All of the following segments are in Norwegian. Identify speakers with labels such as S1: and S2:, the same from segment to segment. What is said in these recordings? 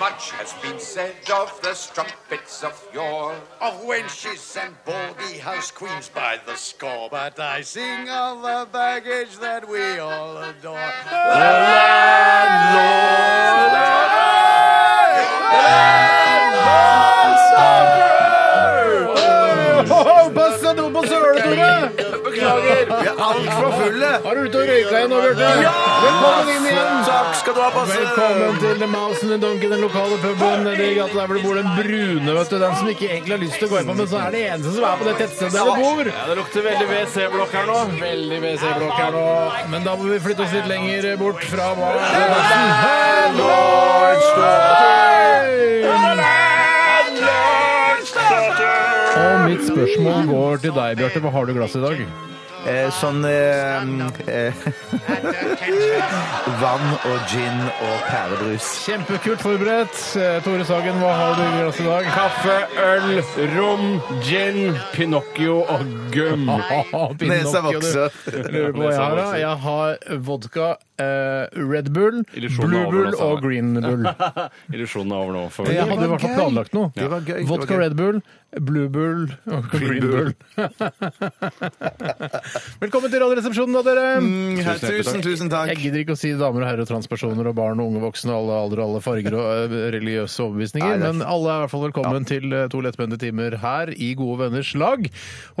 S1: Much has been said of the strumpets of yore, of wenches and baldy house queens by the score. But I sing of the baggage that we all adore.
S2: Altså- Velkommen til The Mouse and the Donkey, den lokale puben. Det er at der hvor det bor den brune, vet du. Den som ikke egentlig har lyst til å gå inn på, men så er det eneste som er på det tettstedet der det bor. Ja, det lukter veldig WC-blokk her nå. Veldig WC-blokk her nå. Men da må vi flytte oss litt lenger bort fra Og mitt spørsmål går til deg, Bjarte. Hva har du i glasset i dag?
S3: eh, sånn eh, eh, Vann og gin og pærebrus.
S2: Kjempekult forberedt. Eh, Tore Sagen, hva har du i glasset i dag?
S4: Kaffe, øl, rom, gin, Pinocchio og gum.
S2: Pinocchio,
S3: vokser.
S2: du. Lurer på hva jeg har, da? Jeg har vodka, eh, Red Bull,
S4: Illusjonen
S2: Blue Bull
S4: er over nå, Steinar.
S2: og Green Bull.
S4: Illusjonen er over nå. For
S2: Jeg hadde i hvert fall
S3: gøy.
S2: planlagt noe.
S3: Det var gøy, det var
S2: Vodka,
S3: gøy.
S2: Red Bull, Blue Bull og Green Bull. Velkommen til Radioresepsjonen, da, dere.
S3: Mm, Tusen, tusen takk.
S2: Jeg gidder ikke å si damer og herrer og transpersoner og barn og unge voksne og alle aldre og alle farger og eh, religiøse overbevisninger,
S3: Nei, det er
S2: men alle er i hvert fall velkommen til eh, to lettbøndige timer her i Gode venners lag.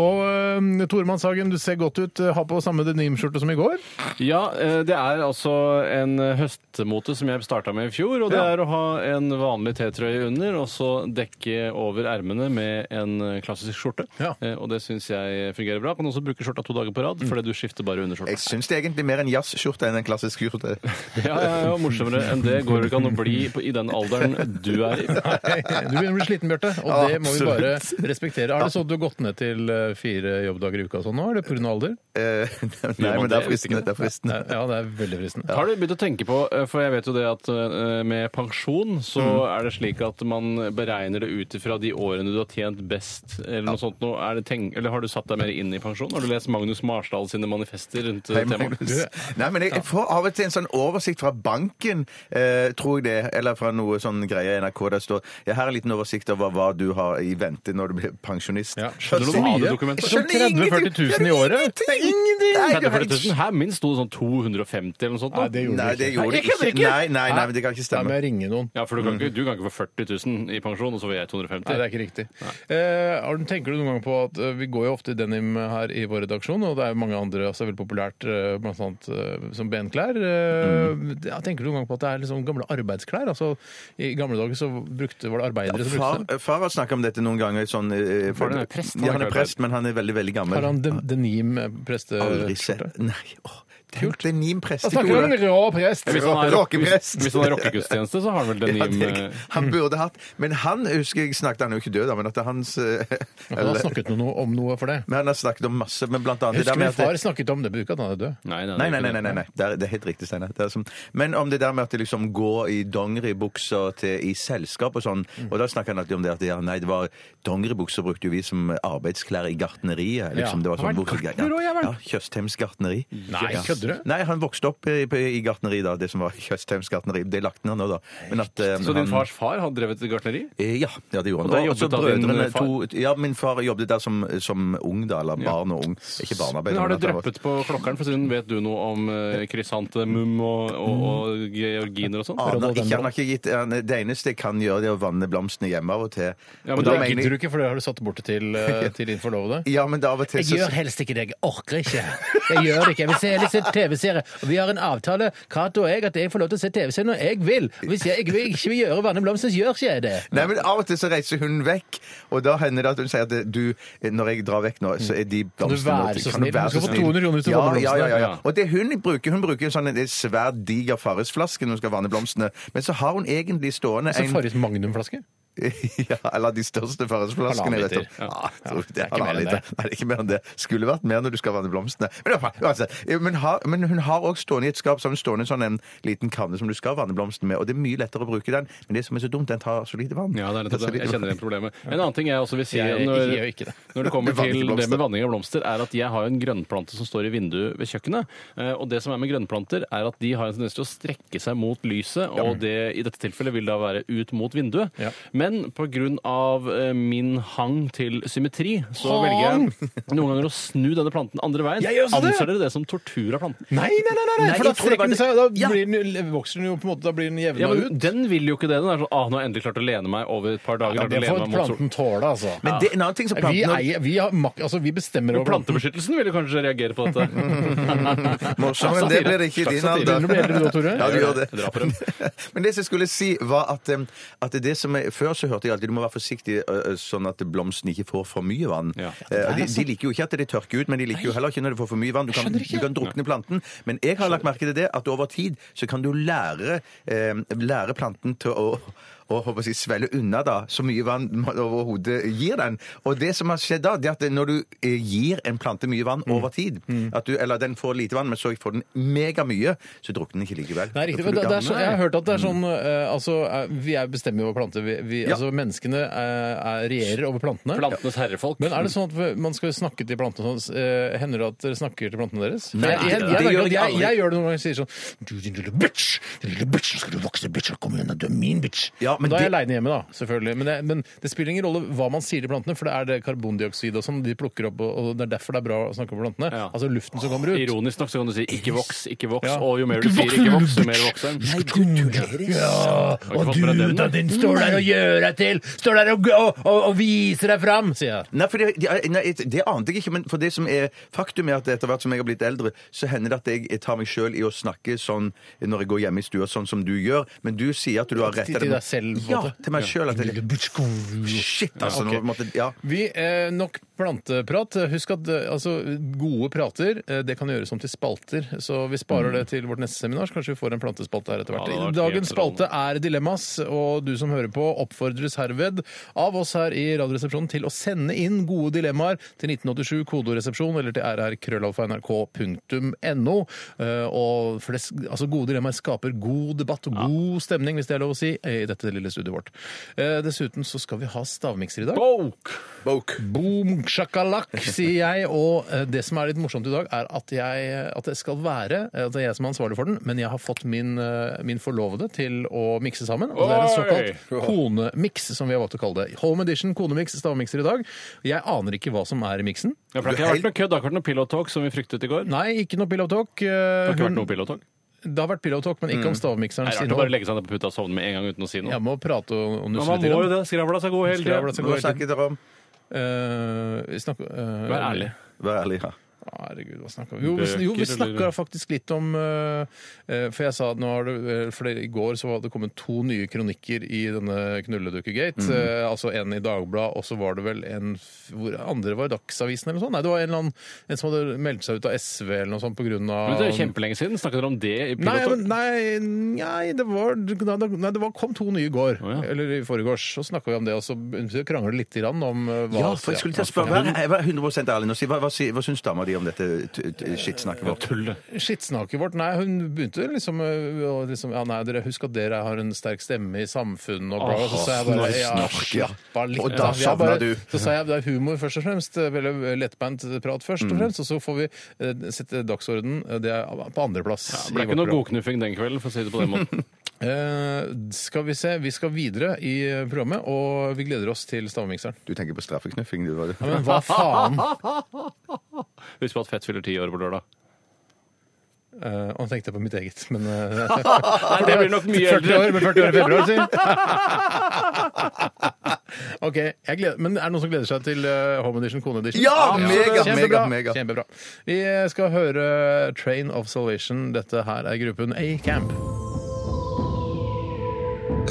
S2: Og eh, Tormann Sagen, du ser godt ut. eh, Har på samme denimskjorte som i går.
S4: Ja, eh, det er altså en høstmote som jeg starta med i fjor, og det
S2: Ja.
S4: er å ha en vanlig T-trøye under, og så dekke over ermene med en klassisk skjorte.
S2: Ja.
S4: Eh, Og det syns jeg fungerer bra. Kan også bruke skjorta to dager på rad, fordi du skifter bare underskjorta.
S3: Jeg syns det er egentlig mer en jazzskjorte enn en klassisk skjorte.
S4: Ja, ja, ja, morsommere enn det går det ikke an å bli på, i den alderen du er i.
S2: Du begynner å bli sliten, Bjarte, og
S3: Ja,
S2: det må vi bare
S3: absolutt.
S2: respektere. Er det sånn at du har gått ned til eh, fire jobbdager i uka og sånn nå? Er det pga. alder?
S3: Eh, Nei, men det er fristende. Det er fristende.
S2: Ja, det er veldig fristende.
S4: Har du begynt å tenke på, eh, for jeg vet jo det at eh, med pensjon så er det slik at man beregner det ut ifra de årene du har tjent best, eller noe sånt noe. Er det tenk eller har du satt deg mer inn i pensjon? Har du lest Magnus Marsdal sine manifester rundt
S3: Hei,
S4: eh, temaet?
S3: Magnus. Nei, men jeg jeg får av og til en sånn oversikt fra banken, eh, tror jeg det, eller fra noe sånn greie i NRK der står Jeg har en liten oversikt over hva du har i vente når du blir pensjonist.
S2: Ja,
S4: skjønner du
S3: Så
S4: hva det
S3: mye.
S4: dokumentet-
S3: Jeg
S2: Sånn
S3: skjønner
S2: 30 000-40 000
S3: ingenting.
S2: i året? Det er ingenting!
S3: Nei, du
S4: 30
S3: har
S4: 40 000? Her minst sto det sånn 250 eller noe sånt.
S2: Nei, det
S4: da.
S2: gjorde
S3: Nei,
S2: du
S3: det
S2: ikke.
S3: gjorde
S4: Nei, jeg kødder
S3: ikke.
S4: ikke.
S3: Nei, nei, nei, men det kan ikke
S2: Da må
S3: stemme.
S2: jeg ringe noen.
S4: Ja, for du kan, ikke, du kan ikke få 40 000 i pensjon, og så får jeg
S2: Nei, det
S4: 250.
S2: er ikke riktig. Eh, Arne, tenker du noen gang på at eh, vi går jo ofte i denim her i vår redaksjon, og det er jo mange andre altså veldig populært, eh, blant annet eh, som benklær. Eh, ja, tenker du noen gang på at det er liksom gamle arbeidsklær? Altså, I gamle dager så brukte, var det arbeidere som brukte
S3: Far, eh,
S2: det.
S3: far har snakka om dette noen ganger. Sånn, eh,
S4: Faren er prest, han
S3: ja,
S4: har
S3: han er
S4: ikke
S3: prest, men han er veldig, veldig gammel.
S2: Har han de, denim eh, preste...
S3: Aldri sett Nei, åh, tenk denim
S2: Da snakker du om
S3: prestekjole.
S2: en rå prest!
S4: Hvis han er, rock- hvis,
S3: Rockeprest.
S4: hvis han er rockegudstjeneste, så har han vel
S3: Ja,
S4: denim
S3: det,
S4: eh,
S3: han burde hatt Men han husker jeg snakket Han er jo ikke død, da, men at det er hans eh,
S2: Han har
S3: eller-
S2: snakket noe om noe for det.
S3: Men han har snakket om masse, men blant annet
S2: Jeg
S3: det der
S2: husker
S3: med
S2: min
S3: at det-
S2: far snakket om det, men ikke at han er død.
S4: Nei, nei,
S3: Nei, nei, nei. nei, nei, nei. Det, er, det er helt riktig, Steinar. Det er som- Men om det der med at det liksom går i dongeribukser til- i selskap og sånn,
S4: Mm.
S3: og da snakker han alltid om det at ja, nei, det var dongeribukser brukte jo vi som arbeidsklær i gartneriet. Liksom.
S2: Ja.
S3: Det var sånn
S4: Har vært
S3: hvorfor-
S4: gartner også, jeg vel?
S3: Ja, Tjøstheims gartneri.
S2: Nei,
S3: Ja.
S2: kødder du?
S3: Nei, han vokste opp i, i gartneri da, det som var Tjøstheims gartneri. Det lagt ned nå, da. Men at, eh,
S4: Så din
S3: han-
S4: fars far har drevet gartneri?
S3: Eh, Ja, ja, det gjorde han.
S4: Og der
S3: Og også
S4: jobbet da din
S3: brødrene
S4: far?
S3: to Ja, min far jobbet der som, som ung, da. Eller barn og ung. Ikke barnearbeid.
S4: Men har det
S3: at han var-
S4: dryppet på klokkeren? For siden vet du noe om eh, krysantemum og, og, og georginer og sånn?
S3: Aner
S2: Ronald
S3: ikke, han har
S2: Denbrock.
S3: ikke gitt, han, det eneste jeg kan gjøre, det er å vanne blomstene hjemme av og til.
S4: Ja, men
S3: Og da
S4: da
S2: Det
S3: mener
S2: gidder du
S3: jeg-
S2: ikke, for det har du satt bort til, eh, til din forlovede.
S3: ja, men da av og til
S5: Jeg gjør
S3: så
S5: helst ikke det. Jeg orker ikke. Jeg gjør det ikke. Jeg vil se litt sånn TV-serie. Og vi har en avtale, Cato og jeg, at jeg får lov til å se TV-serie når jeg vil. Og hvis jeg ikke vil, ikke vil gjøre Vanne Blomsten, så gjør ikke jeg det.
S3: Nei, men Av og til så reiser hun vekk, og da hender det at hun sier at du, når jeg drar vekk nå, så er de
S2: du
S3: blomstene
S2: være så snill? Du skal få 200 kroner hvis du
S3: ja,
S2: vanner
S3: ja, ja, ja, ja.
S4: blomstene.
S3: Og det hun bruker, hun bruker en sånn en svær, diger Farris-flaske når hun skal vanne blomstene, men så har hun egentlig stående
S2: Så
S3: en
S2: Farris Magnum-flaske?
S3: Ja, eller de største Farris-flaskene.
S4: Halvannen
S3: jeg vet om.
S4: liter, ja.
S3: Ja, jeg tror
S4: Det er ikke
S3: halvannen
S4: mer enn
S3: liter. Nei, det er ikke mer enn det. Skulle vært mer når du skal vanne blomstene. Men, i hvert fall, uansett, Eh, men, har, men hun har òg stående i et skap så har hun stående sånn en liten kanne som du skal vanne blomstene med, og det er mye lettere å bruke den. Men det som er så dumt, den tar så lite vann.
S4: Ja, det er
S3: Den tar
S4: nettopp
S3: så
S4: det. Jeg
S3: lite
S4: kjenner
S3: vann.
S4: det problemet. En annen ting jeg også vil si
S2: Jeg- jeg
S4: når,
S2: gjør ikke det.
S4: når det kommer
S3: Vanning
S4: til
S3: av
S4: det med
S3: blomster.
S4: vanning av blomster, er at jeg har jo en grønnplante som står i vinduet ved kjøkkenet. eh, Og det som er med grønnplanter, er at de har en tendens til å strekke seg mot lyset, og det i dette tilfellet vil da være ut mot vinduet.
S2: Ja.
S4: Men på grunn av eh, min hang til symmetri, så velger jeg noen ganger å snu denne planten andre veien.
S2: Jeg gjør også det!
S4: Anser dere det som tortur av planten?
S2: Nei, nei, nei, nei,
S4: Nei,
S2: for da
S4: jeg tror det
S2: strekker
S4: var
S2: den
S4: det-
S2: seg, og da
S4: Ja.
S2: blir den, vokser den jo på en måte, da blir den jevna
S4: Ja, men
S2: ut.
S4: Den vil jo ikke det. Den er sånn ah, 'Nå har jeg endelig klart å lene meg over et par dager'.
S2: Ja,
S4: klart å
S2: det
S4: lene
S2: får
S4: meg mot solen.
S2: planten tåle, altså.
S3: Men det, en annen ting som
S2: vi,
S3: planten
S2: eier, vi, har, mak- altså, vi bestemmer
S4: Jo,
S2: over planten.
S4: Plantebeskyttelsen ville kanskje reagere på dette.
S3: Morsomt, men det blir det ikke i din
S4: Slags satire.
S3: alder.
S2: Begynner du å bli eldre du, Tore?
S3: Ja, du gjør det.
S4: Jeg drar på dem.
S3: Men det som jeg skulle si, var at, em, at det som er, før så hørte jeg alltid du må være forsiktig ø, ø, sånn at blomsten ikke får for mye vann.
S4: Ja.
S3: Eh, De, de liker jo ikke at det tørker ut, men de liker jo heller ikke når det får for mye vann. Du kan, du kan drukne planten. Men jeg har lagt merke til det at over tid så kan du lære, em, lære planten til å å håper jeg, å si, svelle unna da, så mye vann man overhodet gir den. Og det som har skjedd da, det er at når du eh, gir en plante mye vann over tid, at du, eller den får lite vann, men så får den megamye, så drukner den ikke likevel.
S2: Nei, riktig.
S3: For
S2: men
S3: du
S2: Det, det er
S3: kan-
S2: så, jeg har hørt at det er sånn eh, Altså, eh, vi er bestemmer jo over planter. Vi, vi,
S3: Ja.
S2: Altså, menneskene eh, er, regjerer over plantene.
S4: Plantenes herrefolk.
S2: Men er det sånn at man skal snakke til plantene sånn, eh, Hender det at dere snakker til plantene deres?
S3: Nei,
S2: jeg, jeg, jeg,
S3: det- det
S2: merker
S3: gjør
S2: at
S3: de
S2: jeg,
S3: aldri.
S2: jeg, gjør det noen ganger. Sier sånn Du, din lille bitch! Din lille bitch! Nå skal du vokse, bitch! Kom igjen, da, du er min bitch!
S3: Ja, men
S2: men da er
S3: det-
S2: jeg aleine hjemme, da. Selvfølgelig. Men, jeg, men det spiller ingen rolle hva man sier til plantene, for det er det karbondioksid og sånn de plukker opp, og, og det er derfor det er bra å snakke med plantene.
S4: Ja.
S2: Altså luften som kommer ut.
S4: Ironisk nok så kan du si 'ikke voks, ikke voks',
S2: Ja.
S4: og jo mer du sier 'ikke voks', jo mer vokser den.
S2: Nei, du tuller. Ja,
S4: Har ikke fått med deg den, da.
S2: din står der og gjør deg til! Står der og, og, og, og viser deg fram, sier jeg.
S3: Nei, for det, de- nei, det ante jeg ikke, men for det som er faktum er at etter hvert som jeg har blitt eldre, så hender det at jeg tar meg sjøl i å snakke sånn når jeg går hjemme i stua, sånn som du gjør, men du sier at du har rett
S2: Til- til deg selv, på en
S3: Ja,
S2: måte.
S3: til meg sjøl. Shit, altså.
S2: Ja, ok.
S3: nå måtte, ja.
S2: Vi, eh, nok planteprat. Husk at eh, altså, gode prater eh, det kan gjøres om til spalter. Så vi sparer det til vårt neste seminar. så Kanskje vi får en plantespalte her etter hvert.
S4: Mm. Ja, det hadde vært
S2: Dagens
S4: helt strålende.
S2: spalte er dilemmas, og du som hører på, oppfordres herved av oss her i Radioresepsjonen til å sende inn gode dilemmaer til 1987 kodoresepsjon eller til rrkrøllalfa.nrk.no. Eh, Og flest, altså gode dilemmaer skaper god debatt og god stemning, hvis det er lov å si, i dette lille studioet vårt. Eh, Dessuten så skal vi ha stavmikser i dag. Boom shakalak, sier jeg. Og eh, det som er litt morsomt i dag, er at, jeg, at det skal være eh, at det er jeg som er ansvarlig for den, men jeg har fått min, eh, min forlovede til å mikse sammen. Og det er en såkalt konemiks, som vi har valgt å kalle det. Home edition, konemiks, stavmikser i dag. Jeg aner ikke hva som er i miksen.
S4: Ja, for det har ikke vært noe kødd. Det har ikke vært noe pillow talk som vi fryktet i går. Det
S2: Nei, ikke noe pillow talk.
S4: har
S2: Eh,
S4: ikke vært noe pillow talk. Det
S2: hun- det har vært pillow talk, men ikke om
S4: er
S2: stavmikserens
S4: rart å bare
S2: innhold.
S4: legge seg ned på puta og sovne med en gang uten å si noe.
S2: Jeg må prate og, og
S4: Men
S2: nusse
S4: man
S2: litt i
S4: må jo
S2: den.
S4: det. Skravla seg god hele
S2: Skravla
S4: tiden.
S2: seg
S3: Nå
S2: god hele tiden.
S3: snakket dere om
S2: Eh, snakk- eh,
S4: Vær ærlig.
S3: Vær ærlig, ja.
S2: Herregud, hva snakka vi Jo, vi,
S4: Bøker,
S2: jo, vi
S4: eller-
S2: snakka faktisk litt om eh, eh, For jeg sa at nå har det, eh, for det, i går så var det kommet to nye kronikker i denne Knulledukkegate.
S4: Mm.
S2: eh, altså en i Dagbladet, og så var det vel en f- hvor andre var i Dagsavisen eller noe sånt. Nei, det var en, eller annen, en som hadde meldt seg ut av SV eller noe sånt på grunn av
S4: Men det er jo kjempelenge siden. Snakket dere om det i
S2: Nei,
S4: pillow
S2: men,
S4: talk?
S2: nei, nei, det var, nei, det- nei, det var, kom to nye i går.
S4: Å, ja.
S2: Eller i forgårs. Så snakka vi om det, og så begynte vi å krangle litt grann om eh, hva
S3: ja, for jeg skulle til å spørre, vær- vær 100 ærlig nå. Si, hva, hva, si- hva syns dama di om dette t- t- skittsnakket vårt?
S4: Tullet.
S2: Skittsnaket vårt, nei, hun begynte liksom, øh, å liksom Ja, nei, dere husk at dere har en sterk stemme i samfunnet og bla, bla. Så sa jeg bare ja,
S3: snork, ja.
S2: slapp av litt.
S3: Og da
S2: Jeg bare-
S3: savna du.
S2: Så sa jeg det er humor først og fremst. øh, Veldig lettbeint prat først
S3: Mm.
S2: og fremst. Og så får vi eh, sette dagsorden. eh, Det er på andreplass.
S4: Ja,
S2: i
S4: det ble
S2: vårt
S4: ikke noe
S2: program.
S4: godknuffing den kvelden, for å si det på den måten.
S2: Eh, skal vi se, vi skal videre i eh, programmet, og vi gleder oss til stavmikseren.
S3: Du tenker på straffeknuffing, du. var det.
S2: Men hva faen?
S4: Husk på at Fett fyller ti år på lørdag.
S2: Eh, og nå tenkte jeg på mitt eget, men eh,
S4: Nei, det blir nok mye
S2: 40
S4: eldre.
S2: år, men 40 år i februar, sier OK. Jeg gleder, men er det noen som gleder seg til eh, Home Edition, Kone Edition?
S3: Ja, mega,
S2: Kjempebra.
S3: mega, mega.
S2: Kjempebra. Vi eh, skal høre eh, Train of Salvation. Dette her er gruppen A-Camp.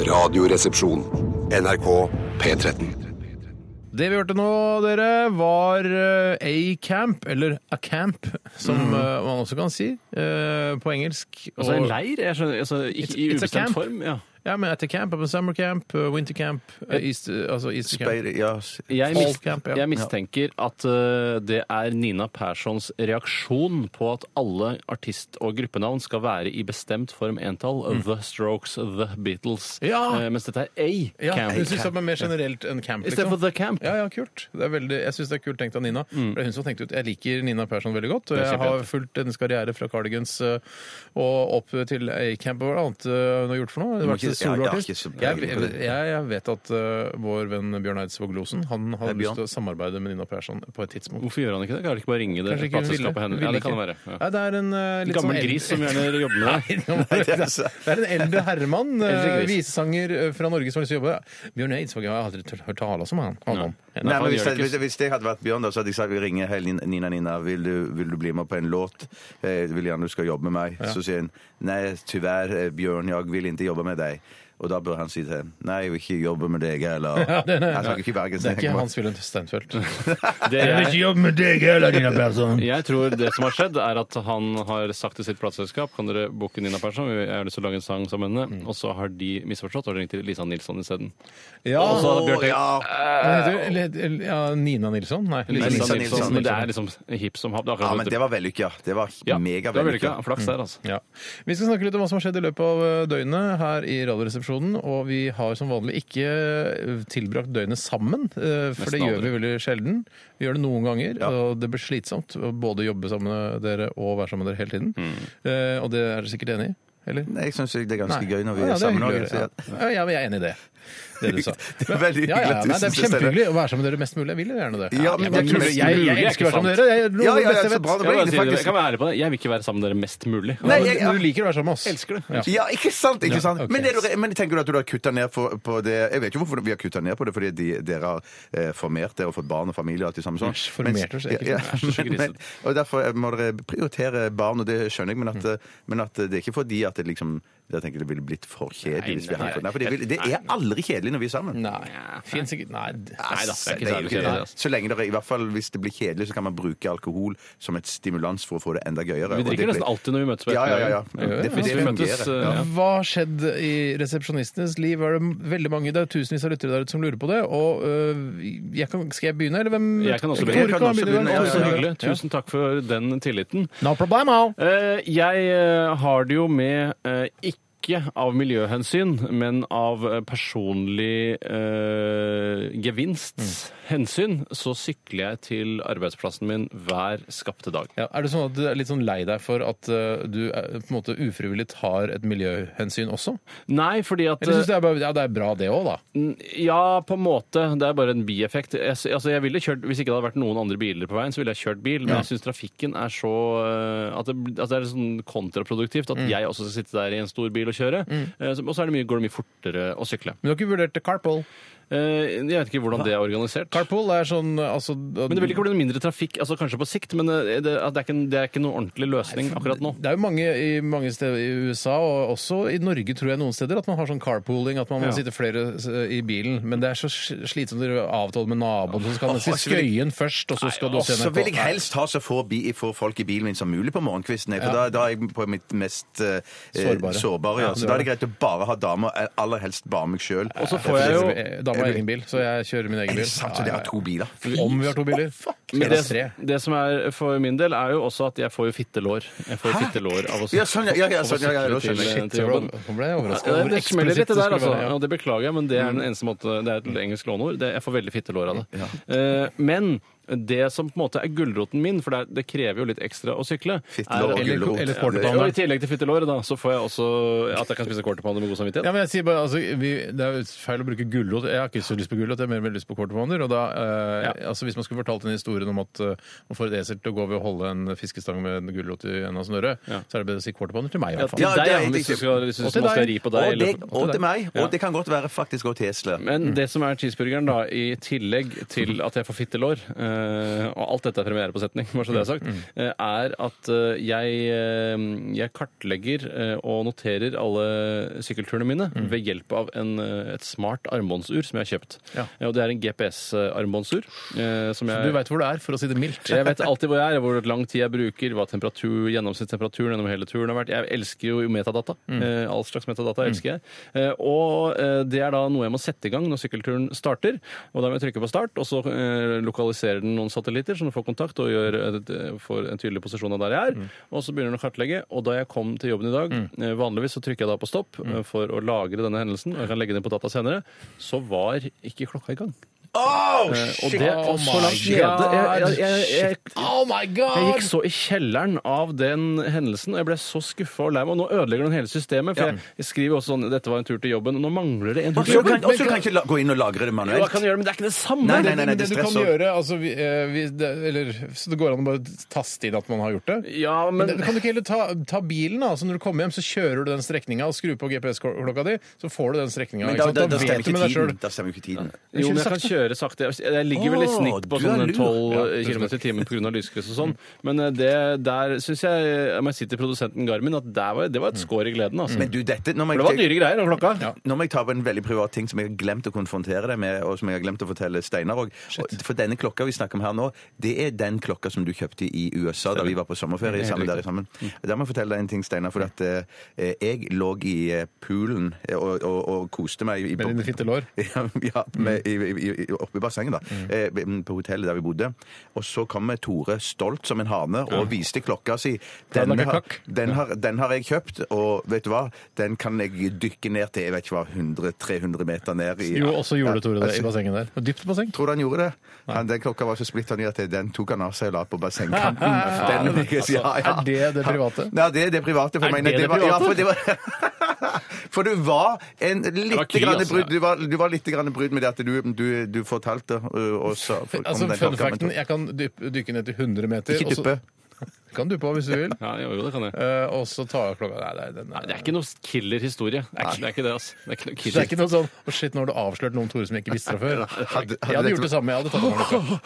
S6: Radioresepsjon. NRK P13.
S2: Det vi hørte nå, dere, var eh, A-Camp, eller A Camp, som
S4: Mm.
S2: eh, man også kan si eh, på engelsk.
S4: Altså
S2: Og-
S4: en leir? Jeg skjønner, altså,
S2: It's-
S4: ikke i
S2: it's a camp.
S4: ubestemt form. Ja.
S2: Ja, men etter camp, etter summer camp, eh, winter camp, eh, east, eh, altså easter camp.
S3: Speil, ja, s-
S4: Jeg,
S2: Fall
S4: mis
S2: camp, ja.
S4: jeg mistenker at eh, det er Nina Perssons reaksjon på at alle artist- og gruppenavn skal være i bestemt form entall. The Strokes, The Beatles.
S2: Ja.
S4: Eh, mens dette er A
S2: Ja,
S4: Camp.
S2: jeg synes det er mer generelt enn camp. liksom.
S4: I stedet for The Camp.
S2: Ja, ja, kult. Det er veldig, jeg syns det er kult tenkt av Nina. For det er hun som har tenkt ut, Jeg liker Nina Persson veldig godt. Og
S4: Mm. er
S2: jeg har
S4: kjempegodt.
S2: fulgt hennes karriere fra Cardigans eh, og opp til A-camp og hva annet eh, hun har gjort for noe. Hun
S3: må
S2: har vært
S3: ikke- ja, jeg har
S2: soloartist.
S3: ikke så-
S2: Jeg, jeg, jeg vet at eh, vår venn Bjørn Eidsvåg Losen han
S3: Hei,
S2: har
S3: Bjørn.
S2: lyst til å samarbeide med Nina Persson på et tidspunkt.
S4: Hvorfor gjør han ikke det? Kan han ikke bare ringe det
S2: Kanskje ikke hun ville.
S4: plateselskapet henne?
S2: ville
S4: Ja, det kan det
S2: ikke.
S4: være. Ja.
S2: Nei, det er en eh, litt
S4: Gammel
S2: sånn eldre-
S4: gris som gjerne jobber med det.
S2: det er en eldre herremann, eh,
S4: Eldre gris.
S2: visesanger eh, fra Norge som har lyst til å jobbe der. Bjørn Eidsvåg, jeg har aldri t- hørt tale om han. han om.
S3: Nei,
S4: han
S3: men hvis, det,
S4: gjør det ikke.
S3: hvis, hvis det hadde vært Bjørn, da, så hadde jeg sagt vi ringer hei, Nina, Nina, Nina, vil du, vil du bli med på en låt? Eh, Jeg vil gjerne du skal jobbe med meg. Så sier hun nei, tyvärr eh, Bjørn, jeg vil ikke jobbe med deg. Og da bør han si til henne nei, jeg vil ikke jobbe med deg heller. Han snakker ikke bergensk.
S2: Det er ikke
S3: jeg må-
S2: Hans Wilhelm Steinfeld.
S4: Det jeg,
S2: jobbe med deg heller, Nina Persson.
S4: jeg tror det som har skjedd, er at han har sagt til sitt plateselskap Kan dere booke Nina Persson, jeg har lyst til å lage en sang sammen med
S3: Mm.
S4: henne. Og så har de misforstått og ringt til Lisa Nilsson isteden.
S2: Ja,
S4: Og så hadde Bjørn
S3: Å,
S4: tenkt
S3: ja.
S2: men heter du- eller- ja, Nina Nilsson? Nei.
S4: Lisa,
S3: Lisa
S4: Nilsson,
S3: Nilsson.
S4: men det er liksom hipp som happ. Det er akkurat
S3: ja,
S4: som
S3: men
S4: et-
S3: det var vellykka. Det var
S4: ja,
S3: mega
S4: det var vellykka.
S3: vellykka.
S4: Flaks der, altså.
S2: Ja. Vi skal snakke litt om hva som har skjedd i løpet av eh, døgnet her i Radioresepsjonen. Og vi har som vanlig ikke eh, tilbrakt døgnet sammen, eh, for det
S4: Nesten
S2: gjør vi
S4: aldri.
S2: veldig sjelden. Vi gjør det noen ganger, og det blir slitsomt å både jobbe sammen med dere og være sammen med dere hele tiden. Eh, Og det er dere sikkert enig i? Eller?
S3: Nei, jeg syns det er ganske
S2: Nei.
S3: gøy når vi
S2: Ja,
S3: er
S2: det
S3: sammen.
S2: hyggelig
S3: også,
S2: å gjøre. Ja, ja, men jeg er enig i det. Det du sa.
S3: Det er veldig
S2: Ja, ja,
S3: hyggelig at du
S2: nei, det er
S3: synes det er
S2: kjempehyggelig å være sammen med dere mest mulig. Jeg vil jo gjerne det.
S3: Ja, men
S2: jeg,
S3: det er
S2: jeg,
S3: mest
S2: jeg,
S4: mulig,
S2: jeg
S4: ikke
S2: elsker å være sammen med
S4: sant?
S2: dere. Jeg,
S3: Ja,
S2: det
S3: ja, ja,
S2: beste
S3: så
S2: jeg
S3: bra.
S2: vet.
S3: Det ble
S4: Jeg, bare
S3: egentlig
S4: sier det, jeg
S3: faktisk
S4: kan være ærlig på det. Jeg vil ikke være sammen med dere mest mulig.
S3: Nei,
S2: Men
S3: jeg- ja.
S2: Du liker å være sammen med oss.
S4: Jeg elsker det.
S3: Ja, ikke sant? ikke
S2: Ja,
S3: sant?
S2: ok.
S3: Men, er du, men tenker du at du har kutta ned på, på det Jeg vet jo hvorfor vi har kutta ned på det, fordi de, dere har eh, formert dere og fått barn og familie og alt det samme sånn.
S2: Æsj, formert oss, det er ikke
S3: Ja, ja,
S4: sant. Æsj, så
S3: men-
S4: grisete.
S3: men- Og derfor eh, må dere prioritere barn, og det skjønner jeg, men
S4: Mm.
S3: at, eh, men at det er ikke fordi at det liksom jeg tenker det ville blitt for
S4: Nei,
S3: kjedelig hvis vi
S4: nei,
S3: hadde fått
S4: nei.
S3: Nei, for det, vil, det er aldri kjedelig når vi er sammen.
S2: Nei. Finnes ikke Nei. d-
S4: Nei
S3: Det
S4: da, det er ikke
S3: er jo
S4: særlig
S3: ikke
S4: kjedelig.
S3: det.
S4: Altså.
S3: Så lenge dere, i hvert fall Hvis det blir kjedelig, så kan man bruke alkohol som et stimulans for å få det enda gøyere.
S4: Vi
S3: og det
S4: drikker
S3: blir-
S4: nesten alltid når vi møtes. på
S3: Ja, ja, ja, ja.
S4: ettermiddagen.
S3: Det-
S4: Hvis
S3: det
S4: vi
S3: fungerer.
S4: møtes, eh, ja.
S2: Hva har skjedd i resepsjonistenes liv? Er det veldig mange, det er tusenvis av lyttere der ute som lurer på det. Og øh, jeg kan, skal jeg begynne, eller hvem?
S4: Jeg kan også
S2: Tore
S3: Jeg
S4: begynne.
S3: kan også
S2: begynne,
S3: begynne,
S2: hvem?
S4: Så
S3: ja, ja.
S4: hyggelig. Tusen takk for den tilliten.
S2: No problemo!
S4: Eh, Jeg eh, har det jo med eh, ikke av miljøhensyn, men av eh, personlig eh, gevinsthensyn, så sykler jeg til arbeidsplassen min hver skapte dag.
S2: Ja, er det sånn at du er litt sånn lei deg for at øh, du er, på en måte ufrivillig tar et miljøhensyn også?
S4: Nei, fordi at
S3: Altså-
S2: Eller syns
S4: eh,
S2: du det er, bare, ja, det er bra, det òg, da?
S4: Ja, på en måte. Det er bare en bieffekt. Jeg, s- altså, jeg ville kjørt, hvis ikke det hadde vært noen andre biler på veien, så ville jeg kjørt bil, men jeg syns trafikken er så eh, at det, bl- at det er sånn kontraproduktivt
S2: Mm.
S4: at jeg også skal sitte der i en stor bil og kjøre. Eh, så- Og så er det mye, går det mye fortere å sykle.
S2: Men du har ikke vurdert carpool?
S4: Eh, Jeg vet ikke hvordan det er organisert.
S2: Carpool er sånn altså
S4: Men det vil ikke bli noe mindre trafikk, altså kanskje på sikt, men eh, det, at det, er ikke, en- det er ikke noe ordentlig løsning akkurat nå.
S2: Det er jo mange, i, mange steder i USA, og også i Norge tror jeg noen steder, at man har sånn carpooling, at man må
S4: Ja.
S2: sitte flere eh, i bilen. Men det er så sl- slitsomt å avtale med naboen, så skal man si
S3: Åh, så vil jeg-
S2: Skøyen først, og så skal du
S3: Og
S2: også
S3: så vil jeg helst ha så få, bi, få folk i bilen min som mulig på morgenkvisten. jeg, For da, da er jeg på mitt mest eh,
S2: Sårbare.
S3: sårbare ja.
S2: Ja,
S3: Så
S2: det
S3: da
S2: er
S3: er det greit å bare ha damer, eh, aller helst bare meg sjøl.
S4: Og så får jeg jo
S2: Da må jeg egen bil, så jeg kjører min egen
S3: Er
S2: bil.
S3: det sant? Så dere har to biler?
S2: Ja, ja. Om vi har to biler.
S4: men
S2: Eller tre.
S4: det, det som er for min del, er jo også at jeg får jo fittelår. Jeg får jo fittelår av å
S3: Ja, sånn, ja, ja, ja,
S4: av å
S3: sånn, ja, ja,
S4: sykle
S3: da skjønner jeg.
S4: til, til
S2: Nå
S4: jobben.
S2: ble- nå ble jeg overraska.
S4: Ja, Eh, det smeller litt det der, altså. Og det beklager jeg, men det er den eneste måte Det er et engelsk låneord. Det, jeg får veldig fittelår av det. Eh, men det som på en måte er gulroten min, for det, er, det krever jo litt ekstra å sykle
S3: Fittelår og
S4: er-
S2: Eller,
S3: gulrot.
S2: eller
S4: Ja,
S2: quarterpounder.
S4: og I tillegg til fittelåret, da, så får jeg også at jeg kan spise quarterpounder med god samvittighet.
S2: Ja, men jeg sier bare, altså, vi, Det er jo feil å bruke gulrot. Jeg har ikke så lyst på gulrot, jeg har mer, mer lyst på quarterpounder. Og da, eh,
S4: Ja.
S2: altså, hvis man skulle fortalt den historien om at eh, man får et esel til å gå ved å holde en fiskestang med en gulrot i enden av snøret,
S4: Ja.
S2: så er det bedre å si quarterpounder til meg. i
S4: Ja,
S2: hvert
S4: til
S2: fall.
S3: Ja, det
S4: deg,
S3: er
S4: ja,
S3: helt
S4: hvis du
S3: riktig.
S4: skal, hvis du
S2: Og til
S4: man skal
S2: deg.
S4: ri på
S3: Og
S4: deg.
S3: det, Mm.
S4: eller-
S3: og til meg.
S4: Ja.
S3: Og det kan godt være faktisk òg Tesla.
S4: Men det som er cheeseburgeren, da, i tillegg til at jeg får fittelår, eh, eh, og alt dette er premiere på setning, bare så
S3: Mm,
S4: det er sagt, eh, er at eh, jeg, eh, jeg kartlegger eh, og noterer alle sykkelturene mine
S3: Mm.
S4: ved hjelp av en, eh, et smart armbåndsur som jeg har kjøpt.
S2: Ja.
S4: Eh, Og det er en GPS-armbåndsur. som jeg...
S2: Du veit hvor du er, for å si det mildt.
S4: Jeg vet alltid hvor jeg er, hvor lang tid jeg bruker, hva temperatur, gjennomsnittstemperaturen gjennom hele turen har vært. Jeg elsker jo metadata.
S2: Mm.
S4: Eh, all slags metadata elsker jeg. Eh, og eh, det er da noe jeg må sette i gang når sykkelturen starter. Og da må jeg trykke på start, og så eh, lokaliserer den noen satellitter, så den får kontakt og gjør, et- får en tydelig posisjon av der jeg
S2: Mm.
S4: er. Og så begynner den å kartlegge. Og da jeg kom til jobben i dag, eh, vanligvis så trykker jeg da på stopp
S2: Mm.
S4: eh, for å lagre denne hendelsen, og jeg kan legge den på data senere, så var ikke klokka i gang.
S3: Oh,
S4: Eh, Og det
S2: Oh
S4: og så
S2: my
S4: langt skjede. Jeg, jeg, jeg, jeg,
S2: Oh my
S4: jeg
S2: god!
S4: gikk så i kjelleren av den hendelsen, og jeg ble så skuffa og lei meg. Og nå ødelegger den hele systemet, for jeg, jeg skriver jo også sånn Dette var en tur til jobben. og Nå mangler det en tur
S3: Og
S4: til
S3: så
S4: jobben.
S3: kan, og så kan jeg ikke la- gå inn og lagre det
S4: Jo, jeg
S3: manuelt.
S4: kan gjøre det, men det er ikke det samme.
S3: Nei,
S4: Det-
S3: nei, nei, nei,
S2: det, du
S3: det er
S2: kan
S3: stress også.
S2: gjøre, altså, vi, eh, vi, det, eller, Så det går an å bare taste inn at man har gjort det?
S4: Ja,
S2: Men,
S4: men
S2: det- kan du ikke heller ta, ta bilen? da? Altså, når du kommer hjem, så kjører du den strekninga og skrur på GPS-klokka di, så får du den strekninga.
S3: Men
S2: ikke
S3: da,
S2: sant?
S3: da, da,
S2: vet
S3: stemmer
S2: du med
S3: ikke
S2: deg selv.
S3: tiden. da stemmer jo ikke tiden.
S4: Jo, men jeg kan kjøre sakte. Jeg- Jeg ligger vel i
S3: Åh,
S4: snitt på
S3: du er
S4: sånn
S3: lur.
S4: 12
S2: Ja,
S4: km i timen pga. lyskryss og sånn. Men eh, det der syns jeg eh, om jeg sier til produsenten Garmin at der var, det var et skår i gleden, altså.
S3: Mm. Men du, dette nå må
S4: For det var
S3: jeg,
S4: dyre greier, den klokka.
S3: nå må jeg ta på en veldig privat ting som jeg har glemt å konfrontere deg med, og som jeg har glemt å fortelle Steinar òg. For denne klokka vi snakker om her nå, det er den klokka som du kjøpte i USA da vi var på sommerferie sammen. der sammen.
S2: Mm.
S3: Da må jeg fortelle deg en ting, Steinar, for at eh, jeg lå i eh, poolen eh, og, og, og koste meg. i-
S2: Med dine fitte lår? Mm.
S3: Ja, ja med, i, i, i, oppe i bassenget, da. Eh, på hotellet der vi bodde. Og så kom eh, Tore stolt som en hane og viste klokka si.
S2: Den
S3: Den
S2: er
S3: har,
S2: kakk.
S3: den, har, den har jeg kjøpt, og vet du hva? Den kan jeg dykke ned til jeg vet ikke hva, 100-300 meter ned i
S2: Jo, også gjorde Tore det i
S3: altså,
S2: bassenget der. Og Dypt basseng.
S3: Tror du han gjorde det? Han, den klokka var så splitter ny at den tok han av seg og la på bassengkanten. Den ligger- ja, ja.
S2: Er det det private?
S3: Ja, det er det private. For, jeg
S4: Er
S3: mener,
S4: det det
S3: var, ja,
S4: private?
S3: for, det var, for du var en
S4: var
S3: litt
S4: key,
S3: grann
S4: altså.
S3: brudd du var, du var litt grann brudd med det at du, du, du fortalte øh, ø, oss for- om
S2: Altså,
S3: den
S2: fun
S3: klokka, men-
S2: facten, jeg kan dyp, dykke ned til 100 meter.
S3: Ikke
S2: og så-
S3: duppe.
S2: Kan duppe hvis du vil.
S4: Ja, jo, jo, det kan jeg.
S2: Eh, og så ta av klokka. Nei, nei, den
S4: Nei, det er ikke noe killer historie. Det er ikke det, er ikke det altså. Det er
S2: Så
S4: ikke noe
S2: det er
S4: killer.
S2: ikke noe sånn Å shit, nå har du avslørt noe om Tore som jeg ikke visste fra før.
S3: Hadde- hadde
S2: jeg hadde gjort
S3: dette-
S2: det samme. Jeg hadde tatt av meg klokka.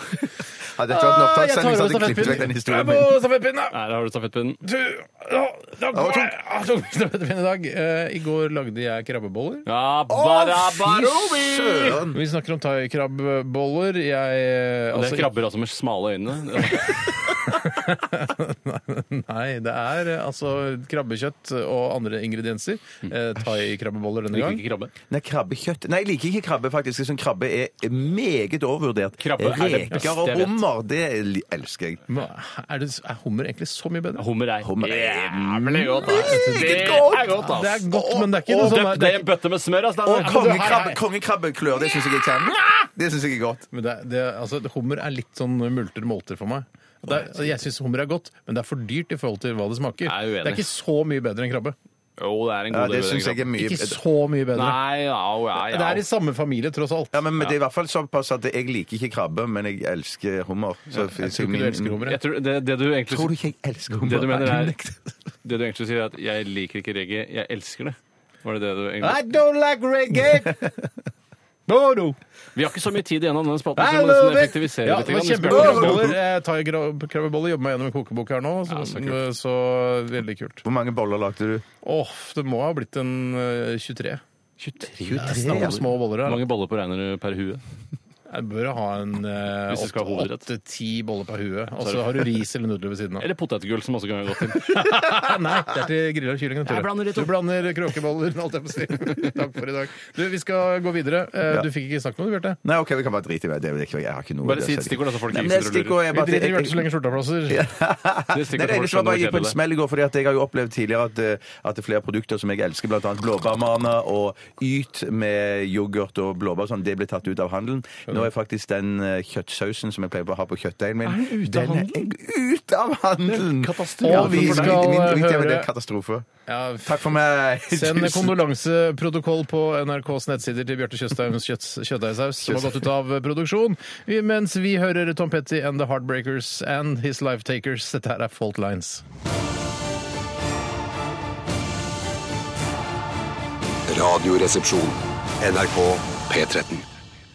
S3: Hadde
S2: Ah, Jeg
S3: dette vært en
S2: tar
S3: opptakssending, så
S2: over
S3: hadde jeg klippet vekk den historien
S2: stafettpinnen. Jeg må stafettpinnen!
S3: min.
S4: Nei, der har du stafettpinnen.
S2: Du, å, da går jeg
S3: var tungt.
S2: Ah, tok stafettpinnen i dag. Eh, I går lagde jeg krabbeboller.
S4: Ja,
S3: Søren!
S2: Vi snakker om thaikrabbeboller. Jeg eh,
S4: Det
S2: altså,
S4: er krabber altså med smale øyne.
S2: Nei, det er eh, altså krabbekjøtt og andre ingredienser.
S4: Mm.
S2: Eh, Thaikrabbeboller denne
S4: Liker
S2: gang.
S4: ikke krabbe.
S3: Nei, krabbekjøtt Nei, jeg liker ikke krabbe, faktisk. Jeg synes krabbe er meget overvurdert.
S4: Krabbe er det beste
S3: Reker og
S4: jeg vet.
S3: hummer, det li- elsker jeg.
S2: Men Er, det, er hummer egentlig så mye bedre?
S4: Hummer er
S3: Hummer er
S4: jævlig godt. ass. Det
S3: meget
S4: er godt,
S2: Det
S4: ass.
S2: er godt, men det er ikke noe
S4: Og
S2: sånn
S4: døpt det i en bøtte med smør, ass. Det
S3: Og
S4: er- sånn
S2: her-
S3: kongekrabbe,
S2: her-
S3: kongekrabbeklør, det syns jeg er kjem. Det syns jeg er godt.
S2: Men det, det, altså, hummer er litt sånn multer molter for meg. Det er, altså, jeg syns hummer er godt, men det er for dyrt i forhold til hva det smaker.
S4: Jeg er
S2: Det
S4: uenig.
S2: er ikke så mye bedre enn krabbe.
S4: Jo, det er en
S3: Ja,
S4: god
S3: det syns jeg er mye
S2: Ikke
S3: bedre.
S2: så mye bedre.
S4: Nei, au, au,
S2: Det er i
S4: au.
S2: samme familie, tross alt.
S3: Ja, men men det er i hvert fall såpass at jeg liker ikke krabbe, men jeg elsker hummer. Så
S2: Jeg tror ikke du elsker hummer.
S4: Jeg
S2: jeg.
S4: tror det, det du egentlig
S3: Tror du ikke jeg elsker hummer?
S4: Det du mener er
S3: Nei,
S4: Det du egentlig sier, er at 'jeg liker ikke reggae, jeg elsker det'. Var det det du egentlig
S2: I don't like reggae! No, no.
S4: Vi har ikke så mye tid igjen av denne spalten,
S2: I
S4: så vi må nesten
S2: love it!
S4: effektivisere
S2: Ja,
S4: litt.
S2: det var
S4: grann.
S2: kjempebra krabbeboller. Jeg tar gra- krabbeboller, jobber meg gjennom en kokebok her nå. Så,
S4: Ja, så kult.
S2: så veldig kult.
S3: Hvor mange boller lagde du?
S2: Åh, det må ha blitt en eh, 23.
S4: 23
S2: Snakk om små boller
S4: Hvor
S2: her.
S4: mange boller på regner du per hue?
S2: Jeg bør ha en eh,
S4: Hvis du skal ha
S2: åtte-
S4: hovedrett.
S2: åtte-ti boller per hue. Og så har du ris eller nudler ved siden av. Ah,
S4: Eller potetgull, som også kan være godt til.
S2: Nei, det er til grilla kylling. Tore.
S4: Jeg blander de to.
S2: Du blander kråkeboller, holdt jeg på å si. Takk for i dag. Du, vi skal gå videre. Eh, Du fikk ikke snakket noe, du, Bjarte.
S3: Nei, OK, vi kan bare drite i det. det. er ikke- Jeg har ikke noe
S4: Bare si et stikkord, da, så folk
S3: Nei,
S4: ikke
S3: men
S4: sitter og lurer.
S3: stikkord er
S2: Vi
S3: bare
S2: driter i Bjarte så lenge skjorta har plasser.
S4: Det
S3: Nei,
S4: stikker
S3: det
S4: til
S3: eneste var
S4: folk
S3: bare å
S4: skjønner
S3: gi på en
S4: hvor kjedelig det er.
S3: smell i går, fordi at jeg har jo opplevd tidligere at, eh, at det er flere produkter som jeg elsker, blant annet blåbærmana og Yt med yoghurt og blåbær, og sånn, det ble tatt ut av handelen. Nå er faktisk den eh, kjøttsausen som jeg pleier å ha på kjøttdeigen min,
S4: Er den ute av
S3: den er ute av handelen!
S4: katastrofe
S3: Og vi
S2: for deg.
S3: skal min, min,
S2: høre-
S3: Det er katastrofe.
S2: Ja,
S3: Takk for meg!
S2: Send
S3: Tusen-
S2: kondolanseprotokoll på NRKs nettsider til Bjarte Tjøstheims kjøtt- kjøttdeigsaus, som har gått ut av produksjon. Vi- Mens vi hører Tom Petty and The Heartbreakers and His Life Takers. Dette her er Fault Lines.
S6: Radioresepsjon. NRK P13.